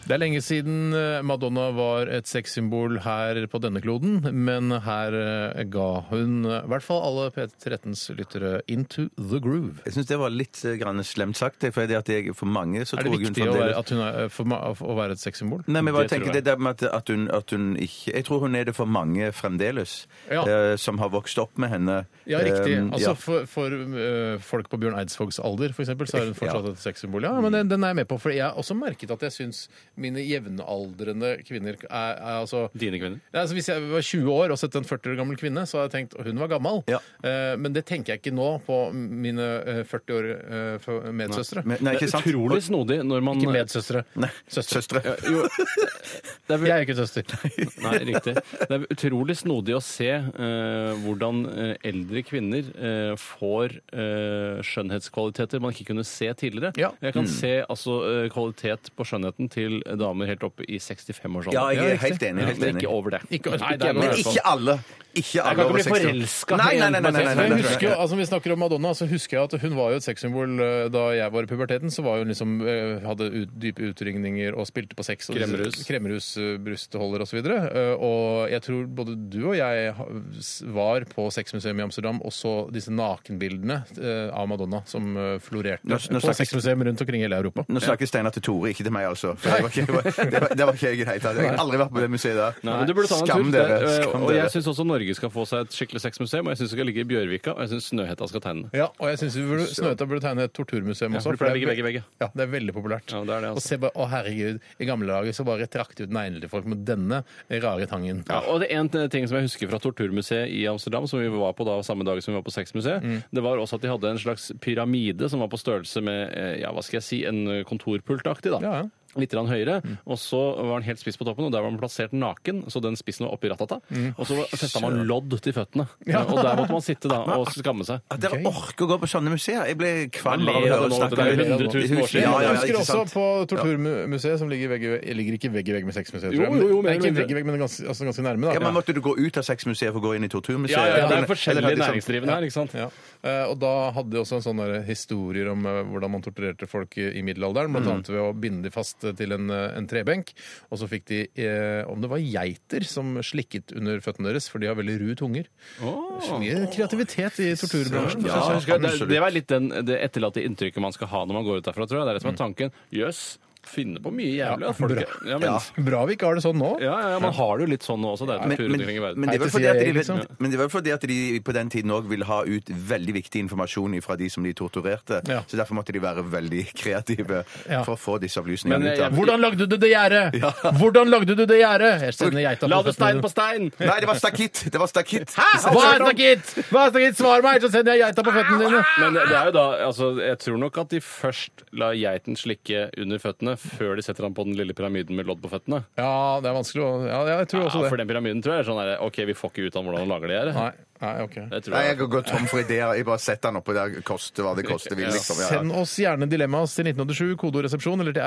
S2: Det er lenge siden eh, Madonna var et sexsymbol her på denne kloden, men her eh, ga hun eh, i hvert fall alle P13s lyttere into the groove.
S3: Jeg syns det var litt eh, grann slemt sagt, for, det at jeg, for mange så
S2: Er det
S3: tror jeg hun
S2: viktig å
S3: fremdeles
S2: være, at hun er, eh, for, ma- å være et sexsymbol?
S3: Nei, men jeg bare
S4: Det tror
S3: tenker
S4: jeg.
S3: det der med at, at, hun, at hun ikke Jeg tror hun er det for mange fremdeles,
S2: Ja.
S3: eh, som har vokst opp med henne.
S2: Ja, riktig.
S3: Eh,
S2: Altså
S3: ja.
S2: For, for øh, folk på Bjørn Eidsvågs alder, for eksempel, så er hun fortsatt
S3: Ja.
S2: et sexsymbol. Ja, men den, den er jeg med på. For jeg har også merket at jeg syns mine jevnaldrende kvinner er, er altså
S4: Dine kvinner.
S2: Ja, altså hvis jeg var 20 år og sett en 40 år gammel kvinne, så hadde jeg tenkt hun var gammel.
S3: Ja.
S2: Eh, men det tenker jeg ikke nå på mine eh, 40 år eh, for- medsøstre.
S3: Men- Nei, ikke sant?
S4: Utrolig snodig når man
S2: Ikke medsøstre.
S3: Nei,
S2: Søstre.
S3: søstre.
S4: Det er, vel-
S2: Jeg er jo ikke søster.
S4: Nei, riktig. Det er utrolig snodig å se eh, hvordan eh, eldre kvinner eh, får eh, skjønnhetskvaliteter man ikke kunne se tidligere.
S2: Ja.
S4: Jeg
S3: Mm.
S4: kan se altså, eh, kvalitet på skjønnheten til damer helt oppe i 65-årsalderen.
S3: Ja, jeg
S2: Ja,
S3: er
S2: riktig.
S3: helt enig. Helt
S4: men
S3: enig.
S4: ikke over det.
S2: Ikke- nei, det er
S4: over
S2: noe
S3: Men
S4: det.
S3: ikke alle. Ikke alle
S4: sånn. kan ikke
S3: over
S4: bli
S3: 60.
S4: forelsket
S3: Nei,
S4: i
S3: nei,
S4: en
S3: nei. nei, nei, nei, nei,
S4: person.
S2: Men jeg
S3: nei, nei.
S2: husker jo, altså, når vi snakker om Madonna, så husker jeg at hun var jo et sexsymbol eh, da jeg var i puberteten. Så var hun liksom, eh, hadde ut, dype utringninger og spilte på sex. Og
S4: Kremmerhus.
S2: Kremmerhus, eh, brystholder osv. Og, uh, og jeg tror både du og jeg ha- s- var på sexmuseum i Amsterdam og så disse nakenbildene eh, av Madonna som eh, florerte
S3: Nå- nå
S2: på
S3: snakkes-
S2: sexmuseum rundt omkring i hele Europa.
S3: Nå snakker Steinar til Tore, ikke til meg, altså. For det var ikke, det var, det var, det var ikke jeg i det hele tatt. Jeg har aldri vært på det museet der.
S4: Nei, men du burde ta en
S3: Skam
S4: tur.
S3: dere.
S4: Det- eh,
S3: Skam
S4: og jeg
S3: dere.
S4: syns også Norge skal få seg et skikkelig sexmuseum. Og jeg syns det skal ligge i Bjørvika, og jeg syns Snøhetta skal tegne.
S2: Ja, og jeg syns Snøhetta burde tegne et torturmuseum også.
S4: for det
S2: for det
S4: pleier
S2: er
S4: begge,
S2: ve-
S4: begge.
S2: Ja, det er veldig populært.
S4: Ja, det er det,
S2: Og
S4: altså.
S2: se bare, Å, herregud, i gamle dager så bare trakk de ut neglene til folk med denne rare tangen.
S4: Ja, og det er en ting som jeg husker fra Torturmuseet i Amsterdam, som vi var på da samme dag som vi var på Sexmuseet, det var også at de hadde en slags pyramide som var på størrelse med eh, ja, hva skal jeg si, en kontorpultaktig, da.
S2: Ja, ja.
S4: Litt grann høyere, og så var den helt spiss på toppen, og der var den plassert naken, så den spissen var oppi ratata. Og så festa man lodd til føttene, og der måtte man sitte da og skamme seg.
S3: At dere
S2: Gøy.
S3: orker å gå på sånne museer! Jeg ble kvalm
S4: Man
S3: bare av å høre
S4: ler av det nå,
S3: snakke
S4: det
S3: om
S4: er jo 100 000 år siden.
S3: Ja, ja,
S2: jeg
S3: ja,
S2: husker
S3: ikke
S2: også
S3: sant?
S2: på Torturmuseet, som ligger, vegg i vegg, eller ikke vegg i vegg med Sexmuseet,
S4: Jo,
S2: tror jeg. men-
S4: jo, jo, mer
S2: Nei, ikke
S4: eller mindre.
S2: vegg i vegg, men ganske, altså, ganske nærme. Da.
S3: Ja, men Måtte du gå ut av sexmuseet for å gå inn i torturmuseet?
S4: Ja, ja, det
S3: Eller-
S4: er forskjellige
S3: eller liksom-
S4: næringsdrivende her, ikke sant.
S2: Ja. Eh, Og da hadde de også en sånn der historier om eh, hvordan man torturerte folk i i middelalderen,
S4: Mm.
S2: blant annet ved å binde de fast eh, til en, eh, en trebenk. Og så fikk de, eh, om det var geiter som slikket under føttene deres, for de har veldig ru tunger. Så mye kreativitet i torturbransjen.
S3: Ja,
S2: synes jeg.
S4: Jeg husker, det,
S3: absolutt.
S4: det var litt den, det etterlatte inntrykket man skal ha når man går ut derfra, tror jeg. Det er det som er tanken. Jøs, finne på mye jævlig.
S2: Ja,
S4: at folk,
S2: bra.
S4: ja, men,
S2: Bra vi ikke har det sånn nå.
S4: Ja, ja, ja, man har det jo litt sånn nå også. Det er
S3: Men,
S4: tortur
S3: men,
S4: rundt omkring i verden.
S3: men, det er vel
S2: Nei,
S3: fordi
S2: til
S3: at de,
S2: CIA, liksom.
S3: men det er vel fordi at de på den tiden òg ville ha ut veldig viktig informasjon fra de som de torturerte.
S2: Ja.
S3: Så derfor måtte de være veldig kreative
S2: Ja.
S3: for å få disse
S4: Men eh,
S3: opplysningene
S4: jeg-
S3: ut. av-
S2: Hvordan lagde du det gjerdet? Hvordan lagde du det gjerdet? Jeg sender geita på
S4: La
S2: føttene
S4: det stein
S2: dine.
S4: på stein!
S3: Nei, det var stakitt! Det var stakitt!
S2: Hva er snakket? Hva er snakket? Svar meg, så sender jeg geita på føttene dine.
S4: Men det er jo da, altså, jeg tror nok at de først lar geiten slikke under føttene før de setter ham på den lille pyramiden med lodd på føttene.
S2: Ja, det er vanskelig å Ja, jeg tror
S4: Ja,
S2: også
S4: for
S2: det.
S4: den pyramiden tror jeg er sånn der, OK, vi får ikke ut av hvordan han lager det her.
S2: Nei, nei, ok.
S4: Det tror
S3: Nei, jeg
S4: jeg.
S3: går tom for ideer. Jeg bare setter den oppå der, koste hva det koste vil. Liksom. Ja.
S2: Send oss gjerne dilemmaet til 1987, kodoresepsjon, eller til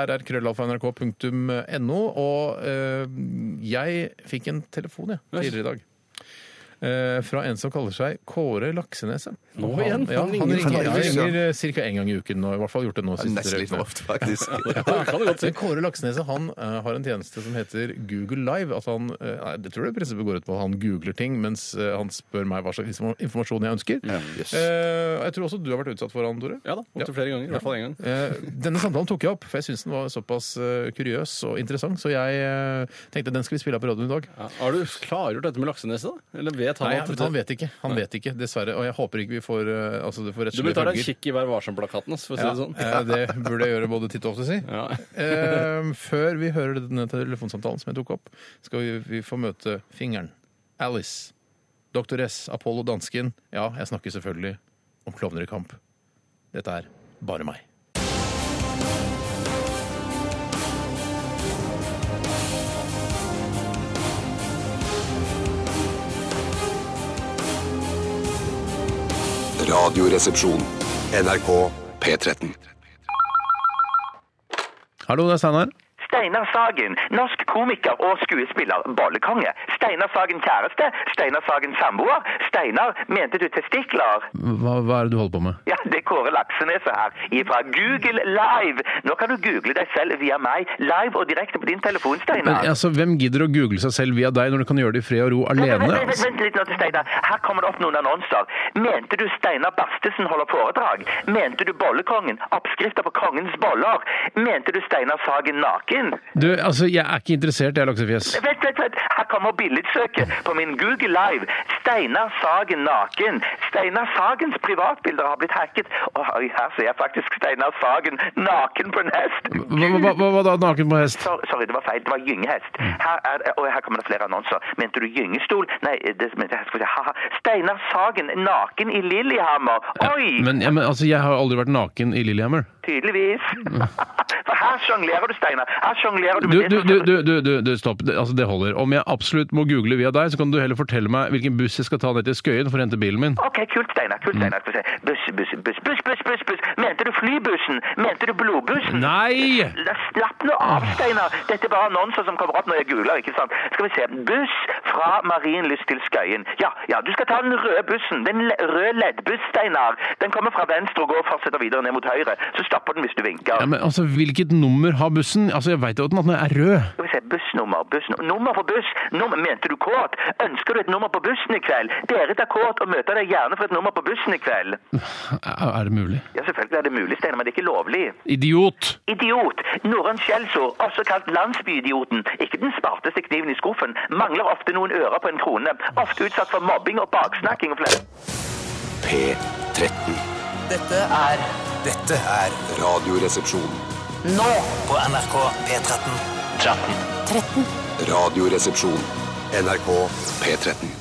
S2: rrkrøllalfa.nrk.no. Og eh, jeg fikk en telefon, jeg, tidligere i dag. Eh, fra en som kaller seg Kåre Lakseneset. Nå
S4: igjen?
S2: Ja,
S4: Han
S2: han
S4: ringer
S2: ringer,
S3: faktisk, ja.
S2: ringer ca. én gang i uken nå. I hvert fall gjort det nå siste
S3: Nesten litt
S2: ukene.
S3: for ofte, faktisk.
S4: Ja, kan du godt si.
S2: Men Kåre Laksneset han eh, har en tjeneste som heter Google Live. At han, eh, nei, det tror jeg i prinsippet går ut på at han googler ting mens eh, han spør meg hva slags inform- informasjon jeg ønsker.
S3: yes.
S2: Eh, og jeg tror også du har vært utsatt for han, Tore.
S4: Ja da, opptil flere ganger. I hvert fall én gang.
S2: Eh, denne samtalen tok jeg opp, for jeg syns den var såpass eh, kuriøs og interessant, så jeg eh, tenkte den skal vi spille av på radioen i dag.
S4: Ja. Har du klargjort dette med lakseneset, da? Eller vet han
S2: Nei,
S4: at
S2: han vet ikke, han vet ikke, dessverre. Og jeg håper ikke vi får, eh, altså, det får
S4: Du bør
S2: rettslige
S4: ta deg en
S2: følger.
S4: kikk i Vær varsom-plakaten, ass, for å si
S2: Ja,
S4: det sånn.
S2: eh, det burde jeg gjøre både titt og ofte, si.
S4: Ja.
S2: Eh, før vi hører denne telefonsamtalen som jeg tok opp, skal vi, vi få møte Fingeren, Alice, Dr. S, Apollo Dansken. Ja, jeg snakker selvfølgelig om Klovner i kamp. Dette er bare meg.
S6: Radioresepsjon. NRK P13.
S2: Hallo, det er Steinar.
S7: Steinar Sagen, norsk komiker og skuespiller, bollekonge. Steinar Sagen kjæreste, Steinar Sagen samboer. Steinar, mente du testikler?
S8: Hva, hva er det du holder på med?
S7: Ja, det er Kåre Laksenes her, fra Google Live. Nå kan du google deg selv via meg, live og direkte på din telefon,
S8: Men,
S7: Steinar.
S8: altså, Hvem gidder å google seg selv via deg når du kan gjøre det i fred og ro
S7: Vent,
S8: alene?
S7: vent, vent, vent, vent litt nå til Steinar. Her kommer det opp noen annonser. Mente du Steinar Bastesen holder foredrag? Mente du Bollekongen? Oppskrifter på kongens boller? Mente du Steinar Sagen naken?
S8: Du, altså, Jeg er ikke interessert, jeg, laksefjes.
S7: Vent, vent, vent. Her kommer billedsøket på min Google Live. Steinar Sagen naken. Steinar Sagens privatbilder har blitt hacket. Og oi, her ser jeg faktisk Steinar Sagen naken på en hest.
S8: Hva, hva, hva, hva da, naken på hest?
S7: Sorry, sorry, det var feil. Det var gyngehest.
S8: Mm.
S7: Her, er, og her kommer det flere annonser. Mente du gyngestol? Nei, det mente jeg. Skal vi se. Haha. Steinar Sagen naken i Lillehammer. Oi!
S8: Men, ja, men altså, Jeg har aldri vært naken i Lillehammer.
S7: Tydeligvis. For her sjonglerer du, Steinar. Her sjonglerer du med
S8: Mm. Du,
S7: det sånn
S8: du,
S7: som-
S8: du, du, du, du, du stopp. Det, altså, det holder. Om jeg absolutt må google via deg, så kan du heller fortelle meg hvilken buss jeg skal ta ned til Skøyen for å hente bilen min.
S7: Ok, kult, Steinar. Kult,
S8: Mm.
S7: Steinar. Skal vi se. Buss, buss, buss, buss, buss, buss, buss. Mente du flybussen? Mente du blodbussen?
S8: Nei!
S7: La- Slapp nå av, Steinar. Dette er bare annonser som kommer opp når jeg googler, ikke sant? Skal vi se. Buss fra Marienlyst til Skøyen. Ja, ja, du skal ta den røde bussen. Den le- røde leddbuss, Steinar. Den kommer fra venstre og går og fortsetter videre ned mot høyre. Så stopper den hvis du vinker.
S8: Ja, men altså, Hvilket nummer har bussen? Altså, Jeg veit jo at den er rød.
S7: Skal vi se, bussnummer, bussnummer, nummer på buss, nummer, mente du kåt? Ønsker du et nummer på bussen i kveld? Berit er kåt og møter deg gjerne for et nummer på bussen i kveld.
S8: Er, er det mulig?
S7: Ja, selvfølgelig er det mulig, Steinar, men det er ikke lovlig.
S8: Idiot!
S7: Idiot, norrønt skjellsord, også kalt landsbyidioten, ikke den smarteste kniven i skuffen, mangler ofte noen ører på en krone, ofte utsatt for mobbing og baksnakking og flere.
S9: P13.
S10: Dette er
S6: Dette er Radioresepsjonen.
S10: nå på NRK P13.
S6: Radioresepsjon. NRK P13.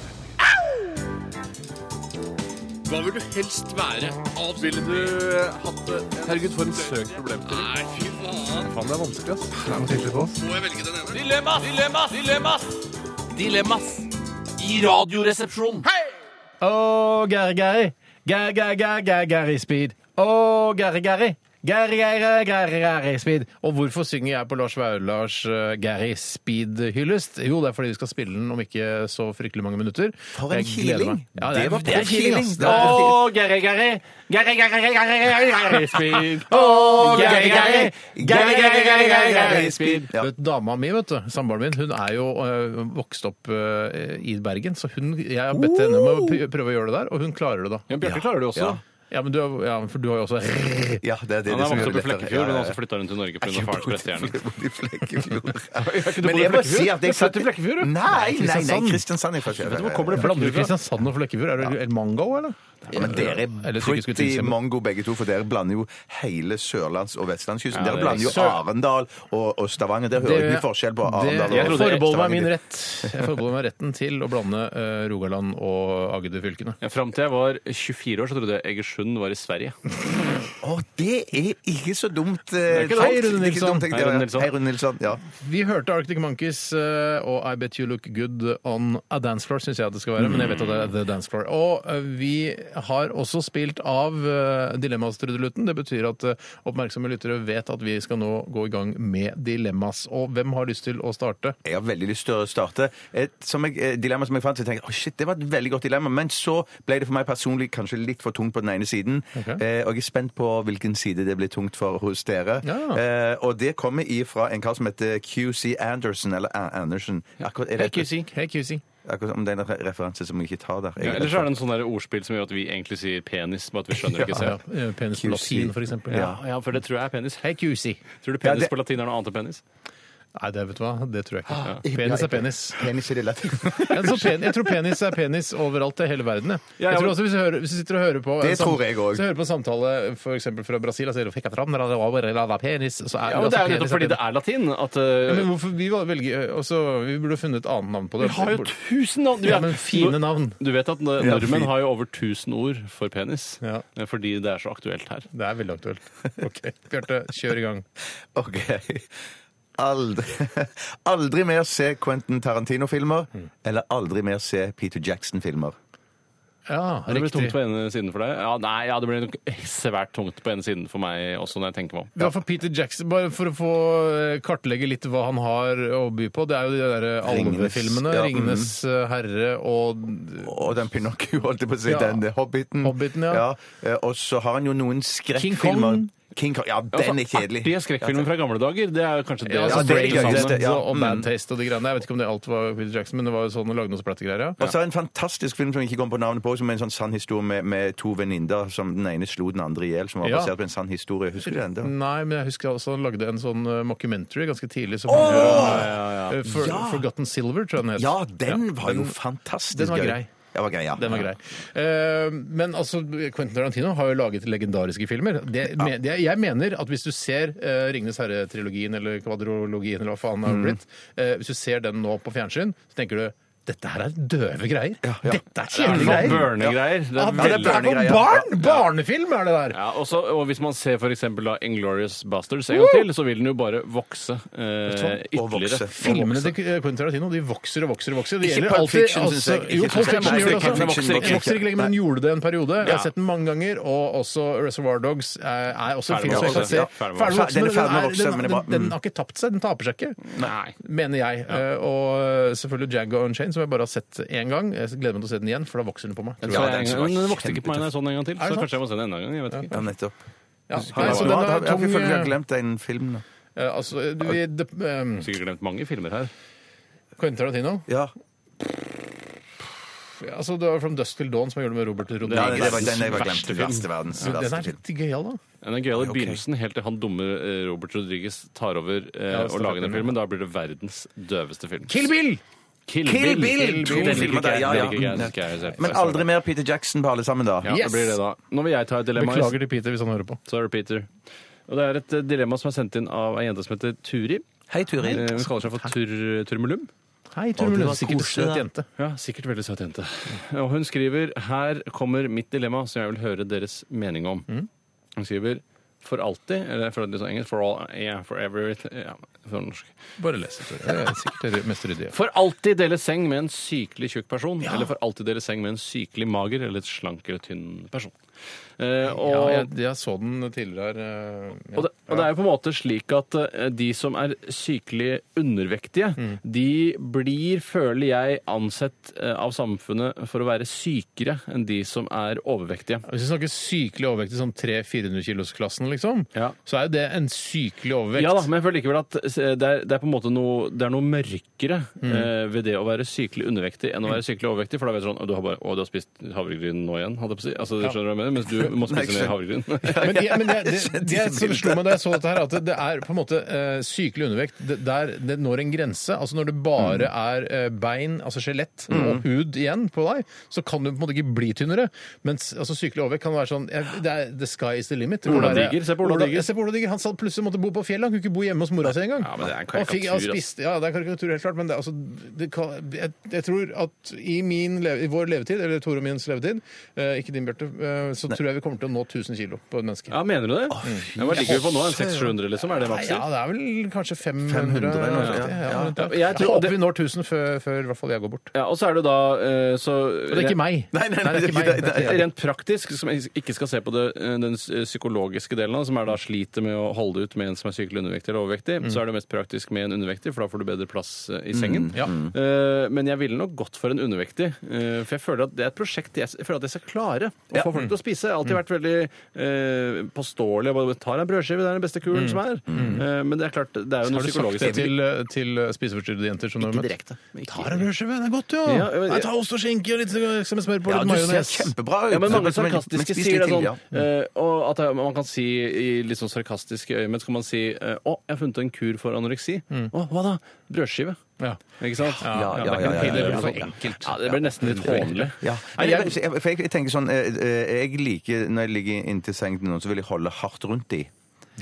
S4: Dilemmas! Dilemmas! Dilemmas! Dilemmas i Radioresepsjonen.
S2: Å, Gary, Gary. Gary, Gary, Gary, Gary, Gary Speed. Å, Gary, Gary. Gary, Gary, Gary, Gary Speed. Og hvorfor synger jeg på Lars Vaular-Lars eh, Gary Speed-hyllest? Jo, det er fordi vi skal spille den om ikke så fryktelig mange minutter.
S3: For en
S2: Jeg gleder
S3: kiling.
S2: meg. Ja,
S3: Det
S2: det, er,
S3: var
S2: det er kiling, ass.
S3: Det var-
S2: Å, Gary, Gary. Gary, Gary, Gary, Gary, Gary Speed. Å, Gary, Gary. Gary, Gary, Gary, Gary, Gary Speed.
S3: Ja.
S2: Vet, dama mi, vet du, samboeren min, hun er jo øh, vokst opp øh, i Bergen, så hun, jeg har bedt henne
S4: Oh.
S2: om å p- prøve å gjøre det der, og hun klarer det da.
S4: Ja, Bjarte klarer det også.
S3: Ja.
S2: Ja, men du, har- ja, for du har jo også
S3: Ja, det er det,
S4: Han
S3: det
S4: er
S3: som
S4: vokst
S3: gjør
S4: opp
S3: det lettere.
S4: i
S3: Ja,
S4: Flekkefjord, men
S3: ja,
S4: altså flytta rundt til Norge pga. farens prestehjerne.
S3: ja. I Flekkefjord.
S4: ikke
S3: Men
S4: du bodd i
S3: jeg må
S4: Flekkefjord?
S3: si at jeg
S4: Du er født i Flekkefjord, du?
S3: Nei, nei, nei,
S2: Kristiansand.
S3: Kristiansand er fra
S4: Hvor kommer det
S2: Blander du
S4: Flekkefjord fra?
S2: Kristiansand og Flekkefjord? Er du El Mango, eller?
S3: Ja, men dere
S2: Eller
S3: er
S2: psykisk
S3: pretty
S2: utviklingshemmede.
S3: mongo begge to, for dere blander jo hele sørlands- og vestlandskysten.
S4: Ja,
S3: Dere
S4: det-
S3: blander jo
S2: Sør-
S3: Arendal og, og Stavanger. Dere hører ikke mye forskjell på Arendal
S2: det, jeg
S3: og
S2: forbeholder meg
S3: Stavanger.
S2: min rett. Jeg forbeholder meg retten til å blande øh, Rogaland og Agder-fylkene.
S4: Ja, Fram til jeg var 24 år, så trodde jeg Egersund var i Sverige.
S3: Å, det er ikke så dumt. eh,
S2: er ikke dumt. Hei, Rune Nilsson.
S4: Hei,
S3: Nilsson.
S4: Rune Nilsson.
S3: Hei, Rune Nilsson. Ja.
S2: Vi hørte Arctic Monkeys eh, og I Bet You Look Good on a Dance Floor, syns jeg at det skal være. Men jeg vet at det er The Dance Floor. Og eh, vi har også spilt av eh, Dilemmas, Trude Lutten. Det betyr at eh, oppmerksomme lyttere vet at vi skal nå gå i gang med Dilemmas. Og hvem har lyst til å starte?
S3: Jeg har veldig lyst til å starte. Et som jeg, eh, dilemma som jeg fant, så tenkte jeg, «Å, shit, det var et veldig godt dilemma. Men så ble det for meg personlig kanskje litt for tungt på den ene siden.
S2: Ok.
S3: Eh, og jeg er spent på hvilken side det blir tungt for hos dere.
S2: Ja.
S3: Eh, og det kommer ifra en kar som heter QC Anderson, eller A- Anderson. Akkurat, er det
S2: Hei, QC.
S3: akkurat om det er en re- referanse som jeg ikke tar der.
S4: Ja, ellers er det en sånn der ordspill som gjør at vi egentlig sier penis, bare at vi skjønner ikke
S2: Ja,
S4: selv.
S2: eh, penis på
S3: QC.
S2: latin, for eksempel.
S4: Ja, ja, for det tror jeg er penis.
S2: Hei, QC.
S4: Tror du
S3: Ja,
S4: penis
S3: det-
S4: på latin er noe annet enn penis?
S2: Nei, det vet du hva, det tror jeg
S3: Ah,
S2: ikke. Penis er penis.
S3: Penis i det latin.
S2: Jeg tror, pen, jeg tror penis er penis overalt i hele verden. Jeg,
S4: Ja, ja,
S2: jeg tror
S4: men-
S2: også hvis du, hører, hvis du sitter og hører på
S3: Det
S2: en sam-
S3: tror jeg også.
S2: Hvis du hører på en samtale for eksempel fra Brasil, og sier du, «Fikk jeg fram, la, la, la, la, la, penis, så er
S4: Ja, men Det er
S2: altså
S4: jo nettopp
S2: penis
S4: fordi det er latin at uh,
S2: Ja, men hvorfor vi valg- velger ø, også, Vi burde funnet et annet navn på det.
S4: Vi har jo tusen navn!
S2: Ja, men fine navn.
S4: Du vet at
S3: Ja,
S4: nordmenn
S3: fint.
S4: har jo over 1000 ord for penis.
S2: Ja.
S4: eh, Fordi det er så aktuelt her.
S2: Det er veldig aktuelt. Ok, Bjarte, kjør i gang.
S3: Ok. Aldri, aldri
S2: Mm.
S3: mer se Quentin Tarantino-filmer, eller aldri mer se Peter Jackson-filmer.
S2: Ja,
S4: Det blir tungt
S2: riktig.
S4: på ene siden for deg? Ja, nei, ja, det blir nok svært tungt på ene siden for meg også, når jeg tenker meg om.
S2: Ja, for Peter Jackson, bare for å få eh, kartlegge litt hva han har å by på. Det er jo de der eh,
S3: Ringenes,
S2: alvefilmene.
S3: ja, mm.
S2: 'Ringenes eh, herre' og
S3: Og den Pinocchio, holdt jeg på å si.
S2: Ja.
S3: Den Hobbiten.
S2: Hobbiten, ja.
S3: eh, Og så har han jo
S2: King
S3: noen
S2: altså,
S3: skrekkfilmer.
S2: Kong.
S3: King Kong. Ja, den er kjedelig.
S4: Altså, Artige skrekkfilmer fra gamle dager, det er jo kanskje det
S2: Ja,
S3: altså,
S2: altså
S4: som
S3: det er
S2: Brain
S3: det gøyeste,
S2: Sand
S3: ja.
S2: og
S3: Mm.
S2: Bad Taste og de greiene der. Jeg vet ikke om det alt var Peter Jackson, men det var jo sånn han lagde noe splattegreier, ja.
S3: Og så er det en fantastisk film som jeg ikke kom på navnet på, som er en sånn sann historie med, med to venninner som den ene slo den andre i hjel, som var
S2: Ja.
S3: basert på en sann historie. Husker du den? da?
S2: Nei, men jeg husker altså han lagde en sånn eh, mockumentary ganske tidlig. Som han gjør, om, eh, eh, For, Forgotten Silver, tror jeg den het.
S3: Ja, den
S2: Ja,
S3: var jo fantastisk
S2: den var
S3: gøy.
S2: grei.
S3: Den var grei, ja.
S2: Den var grei. Eh, men altså, Quentin Tarantino har jo laget legendariske filmer. Det, me, det, jeg mener at hvis du ser uh, 'Ringenes herre'-trilogien eller kvadrologien, eller hva faen
S3: Mm.
S2: det har blitt, eh, hvis du ser den nå på fjernsyn, så tenker du dette her er døve greier.
S3: ja.
S2: Dette er
S4: er
S2: kjedelige
S4: noe
S2: greier.
S4: børnegreier. Det
S2: Ja,
S4: er
S2: det er
S4: veldig-
S2: børnegreier. for barn! Barnefilm er det der!
S4: Ja, også, og hvis man ser f.eks. Inglorious Bastards en gang til, så vil den jo bare vokse eh,
S3: Og vokse.
S4: ytterligere.
S2: Filmene til Quentin Tarantino de vokser og vokser og vokser. Det
S3: Ikke
S2: gjelder
S3: Pulp
S2: alltid
S3: Fiction, synes jeg.
S2: Jo,
S3: Ikke
S2: Pulp
S3: Pulp
S2: Fiction gjør
S4: Fiction.
S2: det
S4: Nei,
S2: også.
S4: Pulp Fiction
S2: Den vokser ikke lenger, men den gjorde det en periode. Jeg har sett den mange ganger. Og også Reservoir Dogs er, er også en film som
S4: Ferdig
S2: jeg
S4: med
S2: kan
S4: å
S2: se.
S4: vokse. Ja, ferdig med
S2: Ferdig
S4: å
S2: med å
S3: vokse. Den er ferdig med å
S2: vokse,
S3: vokse,
S2: men den
S3: men
S2: er-
S3: det bare-
S2: den- den har ikke tapt seg. Den taper seg ikke.
S4: Nei.
S2: Mener jeg. Eh, Og selvfølgelig Jango Unchained, som jeg bare har sett én gang. Jeg gleder meg til å se den igjen, for da vokser den på meg.
S4: Den,
S3: Ja,
S4: så jeg
S3: den
S4: en
S3: som
S4: gang-
S3: var
S4: men den vokste ikke på meg når jeg så den en gang til,
S2: det
S4: så
S2: sant?
S4: kanskje jeg må se den enda en gang. Jeg vet ikke.
S3: Ja, nettopp.
S2: Ja,
S3: Ja,
S2: nei, så
S3: du
S2: den
S3: har,
S2: har
S3: jeg har
S2: tung
S3: selvfølgelig
S2: eh,
S3: glemt den filmen. da.
S2: eh, Altså, vi- det- eh,
S4: Sikkert glemt mange filmer her.
S2: Quentin Tarantino
S3: Ja.
S2: altså, Det var From Dusk Till Dawn, som jeg gjorde med Robert
S3: Ja, det, det var
S2: Rodriguez.
S3: den jeg var glemt.
S4: Verste film.
S3: Verste verdens
S2: Den er
S3: verste film.
S2: litt gøyal, da.
S4: Den er gøyal i begynnelsen, helt til han dumme eh, Robert Rodriguez tar over eh,
S2: Ja,
S4: og lager den
S2: stafettpinnen.
S4: filmen. Da blir det verdens døveste film.
S2: Kill Bill!
S4: Kill
S3: Kill
S4: Bill!
S3: Bill! To
S4: Den liker
S3: filmer der,
S4: ikke jeg,
S3: ja,
S4: den
S3: ja.
S4: liker ikke jeg, den skal jeg se.
S3: Men aldri mer Peter Jackson på alle sammen, da.
S4: Ja,
S2: Yes!
S4: det blir det da. Nå vil jeg ta et dilemma.
S2: Beklager til Peter hvis han hører på.
S4: Sorry, Peter. Og det er et eh, dilemma som er sendt inn av ei jente som heter Turi.
S3: Hei, Turid.
S4: Eh, Hun kaller seg for tur, Turmelum.
S2: Hei,
S3: Å,
S2: Trumle.
S3: du
S2: Du
S3: var
S2: er sikkert en
S3: koselig,
S2: søt
S3: da.
S2: jente.
S4: Ja, sikkert veldig søt jente. Og hun skriver Her kommer mitt dilemma som jeg vil høre deres mening om. Hun skriver For alltid, eller for, litt sånn engelsk, for all, yeah, for everything ja, for norsk.
S2: Bare les det. Tore. Det er sikkert det mest ryddige.
S4: For alltid dele seng med en sykelig tjukk person. Eller for alltid dele seng med en sykelig mager eller et slank eller tynn person. Eh, og,
S2: Ja, jeg, jeg så den tidligere her. eh, Ja.
S4: og, det, og det er jo på en måte slik at eh, de som er sykelig undervektige,
S2: Mm.
S4: de blir, føler jeg, ansett eh, av samfunnet for å være sykere enn de som er overvektige.
S2: Hvis vi snakker sykelig sånn overvektig, som 300-400 kilos-klassen, liksom,
S4: Ja.
S2: så er jo det en sykelig overvekt.
S4: Ja da, men jeg føler likevel at eh, det er, det er på en måte noe, det er noe mørkere eh, ved det å være sykelig undervektig enn å være sykelig overvektig, for da vet du sånn «Å, du har bare, å, du har spist havregryn nå igjen, hadde jeg på å si. Altså, du skjønner hva jeg mener, mens du må spise mer havregryn.
S2: Men, ja, men det, det, det jeg som slo meg da jeg så dette her, at det, det er på en måte eh, sykelig undervekt. Det, der, det når en grense. Altså når det bare
S4: Mm.
S2: er eh, bein, altså skjelett og hud igjen på deg, så kan du på en måte ikke bli tynnere. Mens altså, sykelig overvekt kan være sånn jeg, det er, The sky is the limit. Det kan
S4: Ola
S2: være-
S4: Mm. Digger, se på Ola Digger.
S2: Se på Ola Digger. Han sa plutselig måtte bo på fjellet. Han kunne ikke bo hjemme hos mora si engang.
S4: Ja, men det er en
S2: Han fikk- han
S4: karikatur, ass.
S2: spiste- Ja, det er en karikatur, helt klart. Men det, er altså, det kan, jeg, jeg tror at i, min, leve- i vår levetid, eller Tore og mins levetid, eh, ikke din, Bjarte, eh, så tror jeg vi kommer til å nå 1000 kilo på et menneske.
S4: Ja, mener du det? Ja, hva ligger vi på nå? En 600-700, liksom? Er det
S2: Nei, ja,
S4: makser?
S2: det er vel kanskje 500.
S3: 500 eller noe sånt, ja.
S2: Ja, ja,
S3: Ja.
S2: rundt der.
S4: Ja, jeg
S2: jeg
S4: tror-
S2: håper vi når 1000 før, før i hvert fall jeg går bort.
S4: Ja, og så er det da eh, så
S2: For det er ikke meg.
S3: Nei, nei,
S2: det
S3: nei,
S2: er
S3: det er
S2: ikke meg.
S3: ikke
S2: Det
S3: deg,
S2: er ikke jeg.
S4: Rent praktisk, som jeg ikke skal se på det, eh, den psykologiske delen av, som er da sliter med å holde ut med en som er sykelig undervektig eller overvektig,
S2: Mm.
S4: så er det mest praktisk med en undervektig, for da får du bedre plass eh, i sengen.
S2: Mm. Ja.
S4: Eh, Men jeg ville nok gått for en undervektig, eh, for jeg føler at det er et prosjekt jeg, jeg føler at jeg skal klare å få folk til å spise. Jeg har alltid
S2: Mm.
S4: vært veldig eh, påståelig. Jeg bare tar en brødskive, det er den beste kulen som er. Eh, Men det er klart, det er
S2: Mm. Har
S4: jo noe
S2: du sagt
S4: psykologisk.
S2: det til, til spiseforstyrrede jenter som du har
S4: Ikke
S2: møtt?
S4: direkte.
S2: Ta en brødskive, det er godt, jo!
S4: Ja, jeg-
S2: Nei, ta ost og skinke og litt eh, ekstra smør på,
S3: Ja,
S2: litt
S3: du ser
S2: majones.
S3: kjempebra ut.
S4: Ja, men
S3: Men- men-
S4: mange
S3: men
S4: sarkastiske
S3: spis
S4: sier
S3: litt
S4: det
S3: til,
S4: sånn.
S3: ja. Mm.
S4: eh, og at det- man kan si i litt sånn sarkastiske øyemed, så kan man si eh, Å, jeg har funnet en kur for anoreksi. Å, hva da? Brødskive.
S2: Mm. Ja.
S4: Ikke sant?
S3: ja, ja, ja, ja,
S4: det er ikke noe
S3: ja,
S4: pinlig,
S3: ja, ja.
S4: det blir for enkelt. Ja, det blir nesten litt hånlig.
S3: Ja.
S2: Nei,
S3: Men
S2: jeg-
S3: jeg, jeg, for jeg, jeg tenker sånn eh, eh, Jeg liker Når jeg ligger inntil sengen til noen, så vil jeg holde hardt rundt de.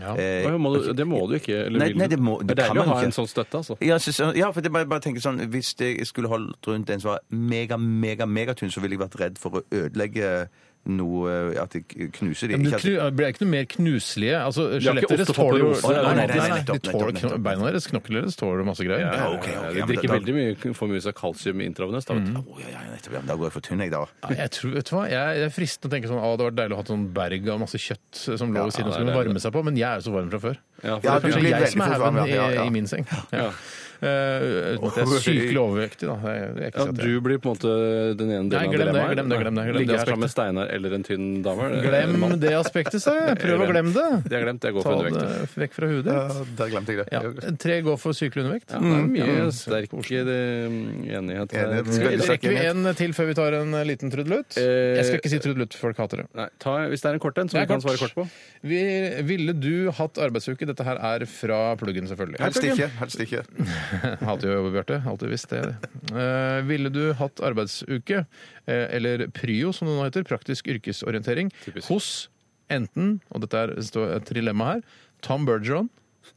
S2: Ja.
S3: Eh,
S4: Å, Må du, det må du ikke. Eller
S3: Nei,
S4: vil
S3: nei,
S4: du?
S3: det må- det
S4: er
S3: kan
S4: deilig å
S3: man
S4: ha
S3: ikke.
S4: en sånn støtte, altså.
S3: ja, så, så- ja, for jeg bare, bare tenker sånn Hvis jeg skulle holdt rundt en som var mega, mega, megatynn, så ville jeg vært redd for å ødelegge noe eh, At de knuser de.
S2: Men du
S3: Ikke at-
S2: knu, det er ikke noe mer knuselige. Altså,
S4: har ikke
S2: Skjelettet deres
S4: ofte fått
S2: tåler jo
S4: periose.
S2: Nei,
S3: Nei,
S2: nei, nei,
S3: nei, nettopp,
S2: de tåler
S3: nettopp, nettopp.
S2: Beina deres, knoklene deres tåler masse greier.
S3: ja, ok, ok,
S4: De
S3: ja, men da-
S4: drikker
S3: Mm.
S4: veldig mye, får mye seg kalsium intravenøst. da, vet du.
S3: Å, ja, ja, nettopp, ja, men Da går jeg for tynn, jeg, da.
S2: Nei, Jeg tror, vet du hva, jeg, jeg er fristende å tenke sånn, ah, det hadde vært deilig å ha et sånn berg av masse kjøtt som lå ved siden av som
S4: det er
S2: kunne
S4: det.
S2: varme seg på, men jeg er jo så varm fra før.
S4: Ja, for
S2: Det
S3: Ja,
S2: er
S4: det
S3: du
S2: kanskje
S3: blir
S2: jeg som er
S3: veldig fort
S2: haugen
S3: varm,
S2: i,
S3: ja, ja, ja.
S2: i min seng. Ja.
S4: Ja.
S2: Eh, uten at jeg er sykelig overvektig, da. Jeg, jeg er ikke
S4: Ja,
S2: sånn at jeg-
S4: du blir på en måte den ene delen
S2: Nei,
S4: av
S2: glem det,
S4: dilemmaet.
S2: glem det, glem det, glem det
S4: Ligge oss
S2: aspektet.
S4: fram med Steinar eller en tynn dame. er det- er det
S2: Glem
S4: mann?
S2: det aspektet, sa jeg. Prøv å glemme
S4: Det
S2: det.
S4: er glemt. Jeg går
S2: Ta
S4: for undervekt.
S2: det vekk fra huet ditt.
S3: Der glemte jeg det.
S2: Ja. Tre går for sykelig undervekt.
S4: Mm. Ja, det er mye sterk eh, enighet her.
S3: Enighet. Skal vi-
S2: Rekker vi en til før vi tar en liten trudelutt?
S4: Eh,
S2: Jeg skal ikke si trudelutt, folk hater det.
S4: Nei, ta, hvis det er en kort en,
S2: Det
S4: som
S2: er
S4: vi kan
S2: kort.
S4: svare kort på.
S2: Vi, ville du hatt arbeidsuke? Dette her er fra pluggen, selvfølgelig.
S3: Helst ikke. Helst ikke.
S2: Jeg Hater jo jobbe, Bjarte. Alltid visst det. Eh, ville du hatt arbeidsuke, eh, eller PRIO som det nå heter, praktisk yrkesorientering, hos enten, og dette er står et trilemma her, Tom Bergeron,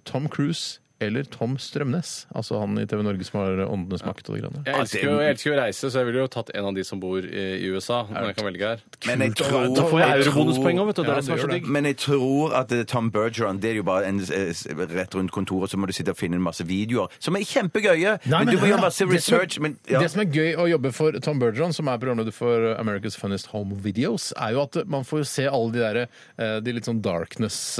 S2: Tom Cruise eller Tom Strømnes? Altså han i TV Norge som har Åndenes makt og det grann.
S4: Jeg elsker, jo, jeg elsker jo å reise, så jeg ville jo tatt en av de som bor i i USA. Når jeg kan velge her.
S3: Men jeg tror
S4: Da får jeg
S3: jeg tror-
S4: eurobonuspoeng òg, vet du. Det
S2: Ja,
S4: er det som er
S2: det
S4: så
S2: gjør
S4: digg.
S3: Men jeg tror at eh, Tom Bergeron Det er jo bare en, eh, s- rett rundt kontoret, så må du sitte og finne en masse videoer som er kjempegøye. men, du må gjøre masse research. Men, ja.
S2: Det som er gøy å jobbe for Tom Bergeron, som er programleder for America's Funniest Home Videos, er jo at man får jo se alle de der, eh, de litt sånn